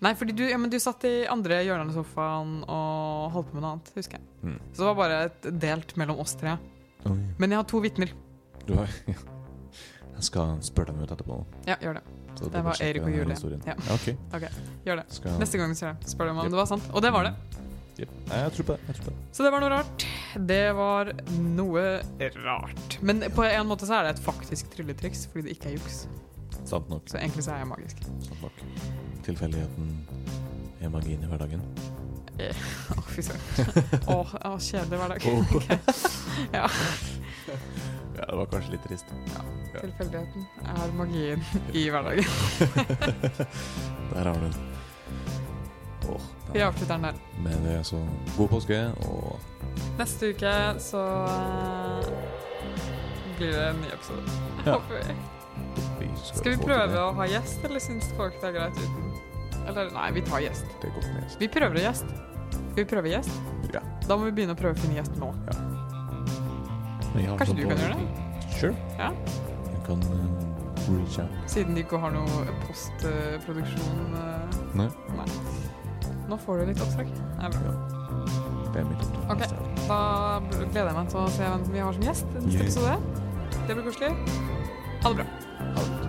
[SPEAKER 1] Nei, fordi du, ja, men du satt i andre hjørnet av sofaen og holdt på med noe annet, husker jeg.
[SPEAKER 2] Mm.
[SPEAKER 1] Så det var bare et delt mellom oss tre. Men jeg har to vitner.
[SPEAKER 2] Du har, Jeg skal spørre dem ut etterpå.
[SPEAKER 1] Ja, gjør det.
[SPEAKER 2] Så
[SPEAKER 1] Det var Erik og Julie. Ja.
[SPEAKER 2] ok.
[SPEAKER 1] Ok, gjør det.
[SPEAKER 2] Skal,
[SPEAKER 1] Neste gang du ser dem, spør dem om
[SPEAKER 2] Jep.
[SPEAKER 1] det var sant. Og det var det.
[SPEAKER 2] Jep. Nei, jeg tror på det. Jeg tror på det.
[SPEAKER 1] Så det var noe rart. Det var noe rart. Men på en måte så er det et faktisk trylletriks, fordi det ikke er juks.
[SPEAKER 2] Sant nok.
[SPEAKER 1] Så egentlig så er jeg magisk.
[SPEAKER 2] Sant nok. Tilfeldigheten er magien i hverdagen.
[SPEAKER 1] Å, fy søren. Åh, åh, kjedelig hverdag. Ja.
[SPEAKER 2] Oh. ja, det var kanskje litt trist.
[SPEAKER 1] Tilfeldigheten er magien i hverdagen.
[SPEAKER 2] Der har du den. Åh,
[SPEAKER 1] Vi
[SPEAKER 2] ja.
[SPEAKER 1] avslutter den der.
[SPEAKER 2] Med det så god påske, og
[SPEAKER 1] Neste uke så eh, blir det en ny episode.
[SPEAKER 2] Ja.
[SPEAKER 1] Håper vi.
[SPEAKER 2] vi skal,
[SPEAKER 1] Skal vi
[SPEAKER 2] få til
[SPEAKER 1] prøve
[SPEAKER 2] det.
[SPEAKER 1] å ha gjest, eller syns folk det er greit uten? Eller nei, vi tar gjest.
[SPEAKER 2] Det er godt med gjest.
[SPEAKER 1] Vi prøver gjest. Skal vi prøve gjest?
[SPEAKER 2] Ja.
[SPEAKER 1] Da må vi begynne å prøve å finne gjest nå.
[SPEAKER 2] Men jeg har
[SPEAKER 1] Kanskje
[SPEAKER 2] sånn
[SPEAKER 1] du kan
[SPEAKER 2] på-
[SPEAKER 1] gjøre
[SPEAKER 2] Sure.
[SPEAKER 1] Ja.
[SPEAKER 2] Jeg kan eh, reach out.
[SPEAKER 1] Siden de ikke har noe postproduksjon eh,
[SPEAKER 2] Nei.
[SPEAKER 1] Nei. Nå får du litt oppdrag. Det er bra.
[SPEAKER 2] Det er mitt oppdrag.
[SPEAKER 1] Ok. Da gleder jeg meg til å se hvem vi har som gjest i neste
[SPEAKER 2] Yeah.
[SPEAKER 1] episode. Det blir koselig. Ha det bra.
[SPEAKER 2] Ha det.